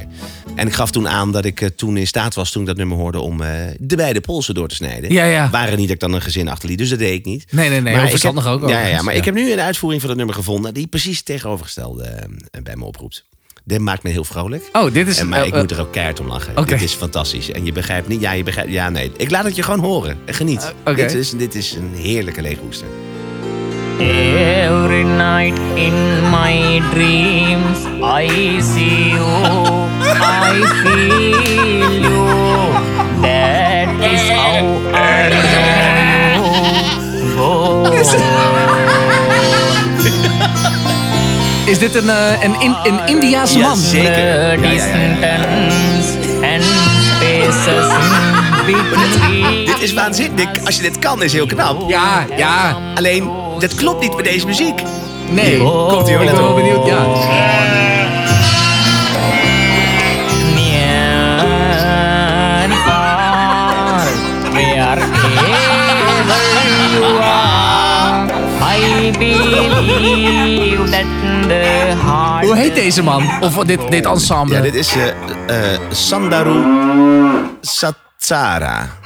Speaker 1: En ik gaf toen aan dat ik eh, toen in staat was, toen ik dat nummer hoorde, om eh, de beide polsen door te snijden.
Speaker 2: Ja, ja.
Speaker 1: Waren niet dat ik dan een gezin achterliet, dus dat deed ik niet.
Speaker 2: Nee, nee, nee. Maar
Speaker 1: ik
Speaker 2: verstandig
Speaker 1: heb-
Speaker 2: ook.
Speaker 1: Ja, ja,
Speaker 2: overigens.
Speaker 1: maar ik heb nu een uitvoering van het nummer gevonden die precies het tegenovergestelde eh, bij me oproept. Dit maakt me heel vrolijk.
Speaker 2: Oh, dit is...
Speaker 1: En, maar
Speaker 2: eh,
Speaker 1: ik
Speaker 2: eh,
Speaker 1: moet er ook keihard om lachen.
Speaker 2: Oké.
Speaker 1: Dit is fantastisch. En je begrijpt niet. Ja, je begrijpt. Ja, nee. Ik laat het je gewoon horen. En Geniet.
Speaker 2: Eh, oké.
Speaker 1: dit, is, dit is een heerlijke leeghoester.
Speaker 5: Every night in my dreams, I see you, I feel you. That is how I know. Oh.
Speaker 2: Is dit een, eh, een, in, een Indiaanse man?
Speaker 1: Jazeker. Ja, ja, ja, ja.
Speaker 5: Distance and spaces in
Speaker 1: Dit is waanzinnig. Als je dit kan, is heel knap.
Speaker 2: Ja, ja.
Speaker 1: Alleen, dat klopt niet met deze muziek.
Speaker 2: Nee. Komt ie hoor. Ik ben wel benieuwd. Ja.
Speaker 5: near and far. Wherever you are, I believe that the heart.
Speaker 2: Hoe heet deze man? Of dit, dit ensemble?
Speaker 1: Oh. Ja, dit is eh, eh, Sandaru Satsara.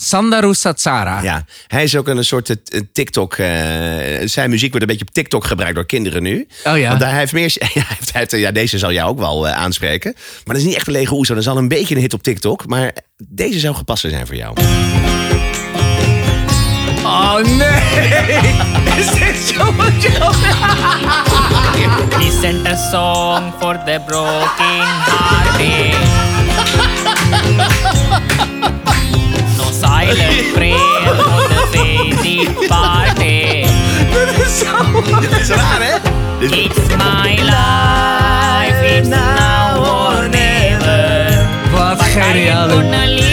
Speaker 2: Sandaru Satsara.
Speaker 1: Ja, hij is ook een soort eh, t- een TikTok. eh, zijn muziek wordt een beetje op TikTok gebruikt door kinderen nu.
Speaker 2: Oh ja.
Speaker 1: Want daar hij heeft meer. Ja, hij heeft, hij heeft- ja, deze zal jou ook wel eh, aanspreken. Maar dat is niet echt een lege oezo. Dat is al een beetje een hit op TikTok. Maar deze zou gepast zijn voor jou.
Speaker 2: Oh nee! Is dit zo
Speaker 5: He sent a song for the broken hearted. No silent prayer for the faith departed.
Speaker 1: Dat is raar, hè? Dit is-
Speaker 5: It's my life, it's now or never.
Speaker 2: Wat
Speaker 5: I'm
Speaker 2: geniaal.
Speaker 5: gonna live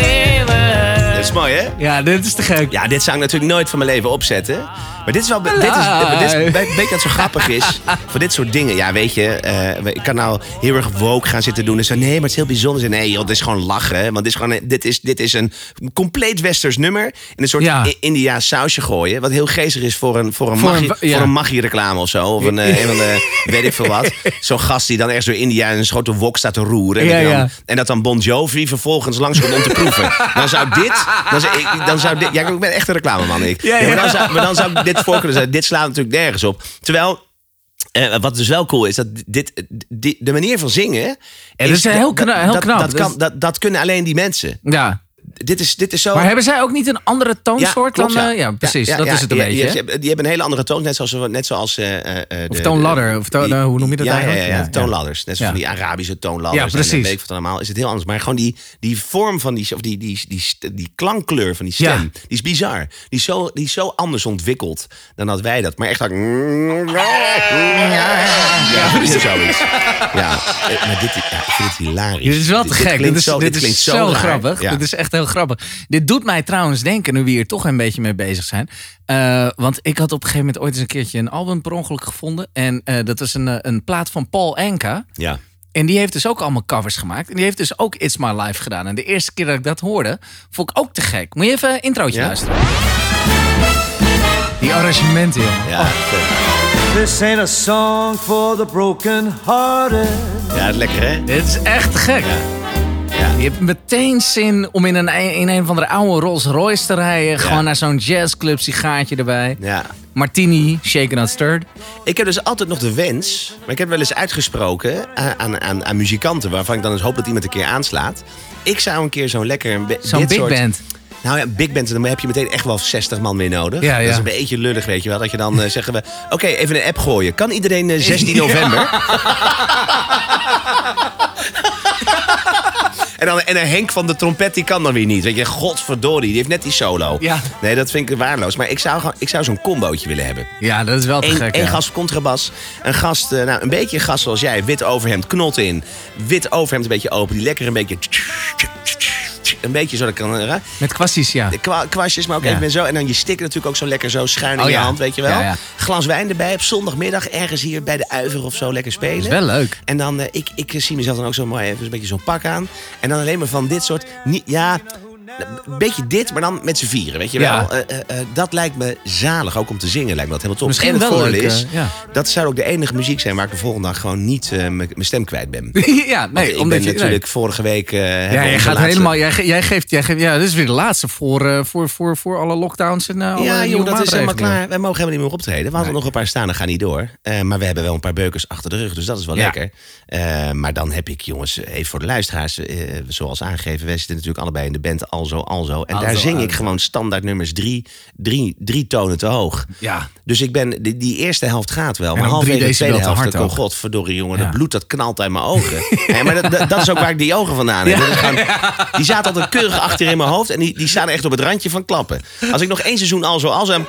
Speaker 5: forever.
Speaker 1: Dat is mooi, hè?
Speaker 2: Ja, dit is te gek.
Speaker 1: Ja, dit zou ik natuurlijk nooit van mijn leven opzetten. Maar dit is wel. Dit is, dit is, dit is- weet je wat zo grappig is? Voor dit soort dingen. Ja, weet je, eh, ik kan nou heel erg woke gaan zitten doen. En zo, nee, maar het is heel bijzonder. Zo, Nee, joh, dit is gewoon lachen. Want dit is, gewoon, een- dit is, dit is een compleet westers nummer. In een soort
Speaker 2: Ja.
Speaker 1: I- Indiaas sausje gooien. Wat heel geestig is voor een, voor een,
Speaker 2: Voor
Speaker 1: magie,
Speaker 2: een va- ja.
Speaker 1: voor een magie-reclame of zo. Of een, eh, een van de- weet ik veel wat. Zo'n gast die dan ergens door India in een grote wok staat te roeren. En,
Speaker 2: Ja,
Speaker 1: dat je dan-
Speaker 2: ja.
Speaker 1: en dat dan Bon Jovi vervolgens langskomt om te proeven. Dan zou dit... Dan zou, ik, dan zou dit ja, ik ben echt een reclameman, ik.
Speaker 2: Ja, ja.
Speaker 1: maar, dan zou, maar dan zou ik dit voor kunnen zijn. Dit slaat natuurlijk nergens op. Terwijl... eh, wat dus wel cool is, dat dit, die- de manier van zingen...
Speaker 2: dat is heel kna- heel
Speaker 1: dat-
Speaker 2: knap.
Speaker 1: Dat,
Speaker 2: Dat
Speaker 1: kan,
Speaker 2: is-
Speaker 1: dat, dat kunnen alleen die mensen.
Speaker 2: Ja.
Speaker 1: Dit is, dit is zo...
Speaker 2: Maar hebben zij ook niet een andere toonsoort
Speaker 1: klopt,
Speaker 2: dan... eh, ja, precies.
Speaker 1: Ja,
Speaker 2: dat
Speaker 1: ja,
Speaker 2: is het een
Speaker 1: ja,
Speaker 2: beetje.
Speaker 1: ja,
Speaker 2: hè?
Speaker 1: ze hebben- die hebben een hele andere toon, net zoals, net zoals eh, eh, eh,
Speaker 2: Of
Speaker 1: de-
Speaker 2: toonladder, of toon-
Speaker 1: die-
Speaker 2: eh, hoe noem je dat
Speaker 1: ja,
Speaker 2: eigenlijk?
Speaker 1: Ja, ja,
Speaker 2: Ja, ja.
Speaker 1: toonladders. Net
Speaker 2: Ja.
Speaker 1: zoals die Arabische toonladders.
Speaker 2: Ja, precies.
Speaker 1: En, eh, weet ik wat allemaal. Is het heel anders. Maar gewoon die, die vorm van die, of die, die, die, die, klankkleur van die stem,
Speaker 2: Ja.
Speaker 1: die is bizar. Die is, zo, die is zo anders ontwikkeld dan dat wij dat. Maar echt dat... Ja, zoiets. Ja, eh, maar dit, ja, ik vind het hilarisch.
Speaker 2: Dit is wel te gek. Dit,
Speaker 1: klinkt
Speaker 2: is,
Speaker 1: zo-
Speaker 2: dit
Speaker 1: klinkt
Speaker 2: is zo
Speaker 1: raar.
Speaker 2: grappig.
Speaker 1: Ja.
Speaker 2: Dit is echt heel grappig. Dit doet mij trouwens denken, nu we hier toch een beetje mee bezig zijn. Eh, want ik had op een gegeven moment ooit eens een keertje een album per ongeluk gevonden. En eh, dat is een, eh, een plaat van Paul Enka.
Speaker 1: Ja.
Speaker 2: En die heeft dus ook allemaal covers gemaakt. En die heeft dus ook It's My Life gedaan. En de eerste keer dat ik dat hoorde, vond ik ook te gek. Moet je even een introotje
Speaker 1: Ja?
Speaker 2: luisteren? Die arrangementen, jongen.
Speaker 1: Ja, vet.
Speaker 6: This ain't a song for the broken hearted.
Speaker 1: ja, lekker hè?
Speaker 2: Dit is echt te gek. Je hebt meteen zin om in een, in een van de oude Rolls Royce te rijden. Gewoon naar zo'n jazzclub, sigaartje erbij.
Speaker 1: Ja.
Speaker 2: Martini, shaken not stirred.
Speaker 1: Ik heb dus altijd nog de wens, maar ik heb wel eens uitgesproken aan, aan, aan, aan muzikanten, waarvan ik dan eens hoop dat iemand een keer aanslaat. Ik zou een keer zo'n lekker. een be-
Speaker 2: Zo'n
Speaker 1: dit
Speaker 2: big
Speaker 1: soort-
Speaker 2: band.
Speaker 1: Nou ja, big band, dan heb je meteen echt wel 60 man meer nodig.
Speaker 2: Ja, ja.
Speaker 1: Dat is een beetje lullig, weet je wel. Dat je dan eh, zeggen we, oké, even een app gooien. Kan iedereen eh, 16 november? En dan, en een Henk van de trompet, die kan dan weer niet. Weet je, godverdorie, die heeft net die solo.
Speaker 2: Ja.
Speaker 1: Nee, dat vind ik waardeloos. Maar ik zou, gewoon- ik zou zo'n combootje willen hebben.
Speaker 2: Ja, dat is wel te
Speaker 1: Eén
Speaker 2: gek.
Speaker 1: één
Speaker 2: ja.
Speaker 1: gast contrabas. Een gast, eh, nou, een beetje een gast zoals jij. Wit overhemd, knot in. Wit overhemd een beetje open. Die lekker een beetje... Een beetje zo, dat kan... eh,
Speaker 2: Met kwasties, ja.
Speaker 1: Kwa kwastjes, maar ook
Speaker 2: Ja.
Speaker 1: even zo. En dan je sticker natuurlijk ook zo lekker zo schuin in
Speaker 2: Oh
Speaker 1: je
Speaker 2: ja.
Speaker 1: hand, weet je wel.
Speaker 2: Ja, ja.
Speaker 1: Glas wijn erbij op zondagmiddag ergens hier bij de Uiver of zo lekker spelen.
Speaker 2: Dat is wel leuk.
Speaker 1: En dan, eh, ik, ik zie mezelf dan ook zo mooi even een beetje zo'n pak aan. En dan alleen maar van dit soort, niet, ja, een beetje dit, maar dan met z'n vieren, weet je
Speaker 2: Ja.
Speaker 1: wel. Eh, eh, eh, dat lijkt me zalig, ook om te zingen lijkt me dat helemaal top.
Speaker 2: Misschien
Speaker 1: en het
Speaker 2: wel
Speaker 1: voordeel
Speaker 2: leuk,
Speaker 1: is,
Speaker 2: eh, ja.
Speaker 1: dat zou ook de enige muziek zijn waar ik de volgende dag gewoon niet eh, mijn mijn stem kwijt ben.
Speaker 2: ja,
Speaker 1: Want
Speaker 2: nee,
Speaker 1: ik
Speaker 2: omdat
Speaker 1: ben
Speaker 2: je... nee.
Speaker 1: natuurlijk vorige week... eh, hebben
Speaker 2: Ja,
Speaker 1: we
Speaker 2: jij
Speaker 1: onze
Speaker 2: gaat
Speaker 1: laatste-
Speaker 2: helemaal... Jij, ge- jij geeft... Jij geeft ja, dit is weer de laatste voor, eh, voor, voor, voor alle lockdowns en eh, alle
Speaker 1: Ja,
Speaker 2: nieuwe
Speaker 1: joh, dat is helemaal
Speaker 2: maatregelen.
Speaker 1: klaar. Wij mogen helemaal niet meer optreden. We hadden nog een paar staan, dat gaan niet door. Eh, maar we hebben wel een paar beukers achter de rug, dus dat is wel
Speaker 2: Ja.
Speaker 1: lekker. Eh, maar dan heb ik, jongens, even voor de luisteraars, eh, zoals aangegeven, wij zitten natuurlijk allebei in de band Alzo Alzo. En daar
Speaker 2: Alzo,
Speaker 1: zing ik
Speaker 2: Alzo.
Speaker 1: gewoon standaard nummers drie, drie, drie tonen te hoog.
Speaker 2: Ja,
Speaker 1: Dus ik ben, die, die eerste helft gaat wel, maar
Speaker 2: dan
Speaker 1: halverwege
Speaker 2: drie
Speaker 1: de tweede
Speaker 2: decibel te hard
Speaker 1: helft, dan kom
Speaker 2: ook.
Speaker 1: godverdorie jongen,
Speaker 2: Ja.
Speaker 1: dat bloed dat knalt uit mijn ogen. Hé, maar dat, dat, dat is ook waar ik die ogen vandaan heb. Dat ik gewoon- die zaten altijd keurig achter in mijn hoofd en die, die staan echt op het randje van klappen. Als ik nog één seizoen al zo al zo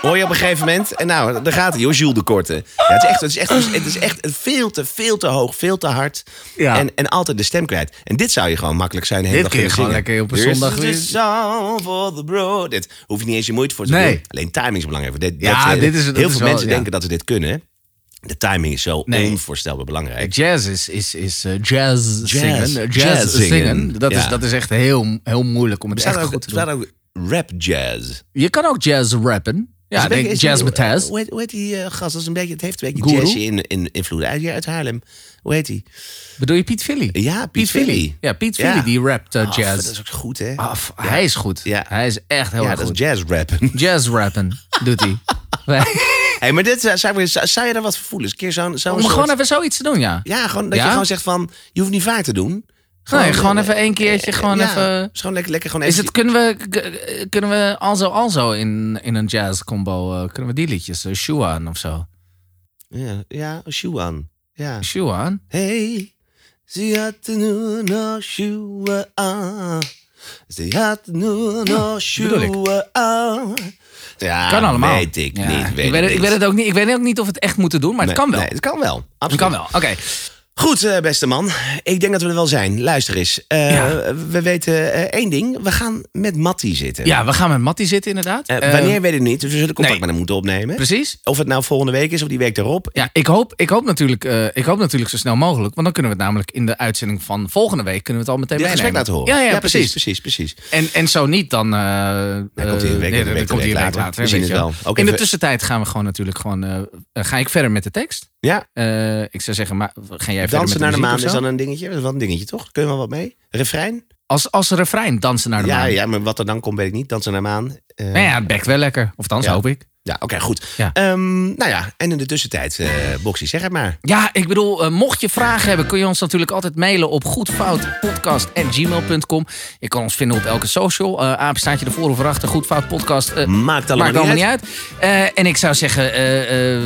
Speaker 1: hoor je op een gegeven moment, en nou, daar gaat hij joh, Jules de Korte. Ja, het, is echt, het, is echt, het is echt veel te, veel te hoog, veel te hard
Speaker 2: Ja.
Speaker 1: en, en altijd de stem kwijt. En dit zou je gewoon makkelijk zijn de hele
Speaker 2: Dit
Speaker 1: dag
Speaker 2: kun je
Speaker 1: kunnen
Speaker 2: gewoon
Speaker 1: zingen.
Speaker 2: lekker op een zondag
Speaker 1: This is
Speaker 2: weer-
Speaker 1: the song for the bro. Dit hoef je niet eens je moeite voor te
Speaker 2: Nee.
Speaker 1: doen. Alleen timing is belangrijk. Dit,
Speaker 2: Ja,
Speaker 1: eh,
Speaker 2: dit is- dat
Speaker 1: heel
Speaker 2: is
Speaker 1: veel
Speaker 2: wel-
Speaker 1: mensen
Speaker 2: ja.
Speaker 1: denken dat ze dit kunnen. De timing is zo
Speaker 2: Nee.
Speaker 1: onvoorstelbaar belangrijk.
Speaker 2: jazz is, is, is eh, jazz, zingen. Eh, Jazz,
Speaker 1: jazz
Speaker 2: zingen.
Speaker 1: zingen.
Speaker 2: Dat, is,
Speaker 1: Ja.
Speaker 2: dat is echt heel, heel moeilijk om het
Speaker 1: Er staat
Speaker 2: echt
Speaker 1: ook,
Speaker 2: goed
Speaker 1: er
Speaker 2: te doen.
Speaker 1: staat ook rap jazz.
Speaker 2: Je kan ook jazz rappen.
Speaker 1: Is
Speaker 2: Ja,
Speaker 1: een beetje-
Speaker 2: denk,
Speaker 1: is-
Speaker 2: jazz met Taz.
Speaker 1: Hoe heet, hoe heet die eh, gast? Dat is een beetje, het heeft een beetje
Speaker 2: Guru?
Speaker 1: jazzy in, in, invloeden. Uit, uit Haarlem. Hoe heet die?
Speaker 2: Bedoel je Piet Philly?
Speaker 1: Ja, Piet Villy.
Speaker 2: Ja, Piet
Speaker 1: Ja.
Speaker 2: Philly die rapt eh,
Speaker 1: Ah,
Speaker 2: jazz.
Speaker 1: Dat is ook goed, hè?
Speaker 2: Ah, f- Hij is goed.
Speaker 1: Ja.
Speaker 2: Hij is echt heel
Speaker 1: ja,
Speaker 2: erg
Speaker 1: dat
Speaker 2: goed.
Speaker 1: is Oh, jazz rappen.
Speaker 2: Jazz rappen doet hij.
Speaker 1: hey, maar dit, eh, zou, zou, zou je daar wat voor voelen? Eens een keer zo'n zo'n
Speaker 2: Om
Speaker 1: soort-
Speaker 2: gewoon even zoiets te doen, ja.
Speaker 1: Ja, gewoon dat je
Speaker 2: Ja?
Speaker 1: gewoon zegt van, je hoeft niet vaak te doen.
Speaker 2: nee, gewoon
Speaker 1: eh,
Speaker 2: even één keertje. Gewoon
Speaker 1: ja,
Speaker 2: even...
Speaker 1: is gewoon lekker, lekker gewoon
Speaker 2: Is
Speaker 1: even...
Speaker 2: het, kunnen we, k- kunnen we alzo alzo in, in een jazz combo, eh, kunnen we die liedjes? eh, Shuan of zo.
Speaker 1: Ja, ja Shuan. Ja.
Speaker 2: Shuan?
Speaker 1: Hey, ze had nu nog schoenen aan. Ze had nu nog schoenen aan. Ja,
Speaker 2: Kan allemaal.
Speaker 1: Ah, weet ik
Speaker 2: Ja,
Speaker 1: niet. Weet
Speaker 2: ik, weet het,
Speaker 1: niet.
Speaker 2: ik weet het ook niet. Ik weet ook niet of we het echt moeten doen, maar het
Speaker 1: Nee,
Speaker 2: kan wel.
Speaker 1: Nee, het kan wel.
Speaker 2: het
Speaker 1: Absoluut.
Speaker 2: kan wel. Oké.
Speaker 1: Goed, eh, beste man. Ik denk dat we er wel zijn. Luister eens. Eh,
Speaker 2: Ja.
Speaker 1: We weten eh, één ding. We gaan met Matty zitten.
Speaker 2: Ja, we gaan met Matty zitten inderdaad.
Speaker 1: Eh,
Speaker 2: Eh,
Speaker 1: wanneer weet ik niet. Dus we zullen contact
Speaker 2: nee.
Speaker 1: met hem moeten opnemen.
Speaker 2: precies.
Speaker 1: Of het nou volgende week is of die week erop.
Speaker 2: Ja, ik hoop, ik, hoop natuurlijk, eh, ik hoop natuurlijk zo snel mogelijk. Want dan kunnen we het namelijk in de uitzending van volgende week... kunnen we het al meteen
Speaker 1: Ja, gesprek
Speaker 2: meenemen.
Speaker 1: laten horen.
Speaker 2: Ja, ja, precies.
Speaker 1: Precies, precies.
Speaker 2: En, en zo niet, dan... eh, eh,
Speaker 1: komt hij een week-
Speaker 2: nee,
Speaker 1: een
Speaker 2: dan
Speaker 1: week-
Speaker 2: komt hij
Speaker 1: een
Speaker 2: een
Speaker 1: week
Speaker 2: week
Speaker 1: later.
Speaker 2: later.
Speaker 1: We zien
Speaker 2: weet
Speaker 1: het
Speaker 2: je
Speaker 1: wel. Ook
Speaker 2: in de
Speaker 1: even-
Speaker 2: tussentijd gaan we gewoon natuurlijk gewoon... eh, eh, ga ik verder met de tekst?
Speaker 1: Ja,
Speaker 2: Eh, ik zou zeggen, maar ga jij verder met
Speaker 1: dansen naar de
Speaker 2: muziek
Speaker 1: maan
Speaker 2: of zo?
Speaker 1: is dan een dingetje. Dat is wel een dingetje, toch? Kun je wel wat mee? Refrein?
Speaker 2: Als, als refrein, dansen naar de
Speaker 1: Ja,
Speaker 2: maan.
Speaker 1: ja, maar wat er dan komt, weet ik niet. Dansen naar de maan. eh,
Speaker 2: Nou ja, het bekt wel lekker. Of dans
Speaker 1: Ja.
Speaker 2: hoop ik.
Speaker 1: Ja, oké, goed.
Speaker 2: Ja.
Speaker 1: Ehm, nou ja, en in de tussentijd, eh Boxy, zeg het maar.
Speaker 2: Ja, ik bedoel, eh, mocht je vragen hebben, kun je ons natuurlijk altijd mailen op goedfoutpodcast.gmail.com. Je kan ons vinden op elke social. Eh apenstaartje ervoor of erachter, goedfoutpodcast. eh,
Speaker 1: Maakt allemaal,
Speaker 2: maakt allemaal
Speaker 1: niet
Speaker 2: niet
Speaker 1: uit.
Speaker 2: uit. Eh, en ik zou zeggen, eh, eh,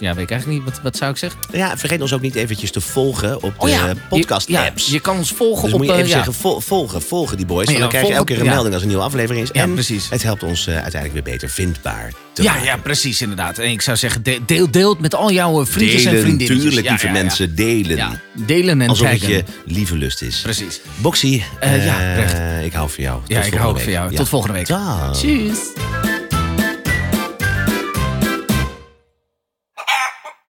Speaker 2: ja, weet ik eigenlijk niet. Wat, wat zou ik zeggen?
Speaker 1: Ja, vergeet ons ook niet eventjes te volgen op de
Speaker 2: Oh ja,
Speaker 1: podcast-apps.
Speaker 2: eh, Je, ja, je kan ons volgen
Speaker 1: dus
Speaker 2: op...
Speaker 1: moet je
Speaker 2: eh,
Speaker 1: even
Speaker 2: ja.
Speaker 1: zeggen, vol- volgen, volgen die boys.
Speaker 2: Ja,
Speaker 1: want dan krijg je
Speaker 2: volgen-
Speaker 1: elke keer een
Speaker 2: ja.
Speaker 1: melding als er een nieuwe aflevering is.
Speaker 2: Ja,
Speaker 1: en
Speaker 2: precies.
Speaker 1: het helpt ons eh, uiteindelijk weer beter vindbaar te
Speaker 2: Ja,
Speaker 1: maken.
Speaker 2: ja, precies, inderdaad. En ik zou zeggen, de- deel, deel het met al jouw eh, vriendjes en
Speaker 1: Delen,
Speaker 2: vriendinnetjes.
Speaker 1: tuurlijk,
Speaker 2: Ja,
Speaker 1: lieve
Speaker 2: ja, ja.
Speaker 1: mensen, delen.
Speaker 2: Ja, delen en
Speaker 1: Alsof het
Speaker 2: taggen.
Speaker 1: je lieve lust is.
Speaker 2: Precies.
Speaker 1: Boxy,
Speaker 2: Eh, ja,
Speaker 1: eh,
Speaker 2: recht.
Speaker 1: ik hou van jou. Tot
Speaker 2: Ja, ik
Speaker 1: volgende
Speaker 2: hou ook
Speaker 1: week.
Speaker 2: van jou.
Speaker 1: Ja.
Speaker 2: Tot volgende week.
Speaker 1: Dag.
Speaker 2: Tjus.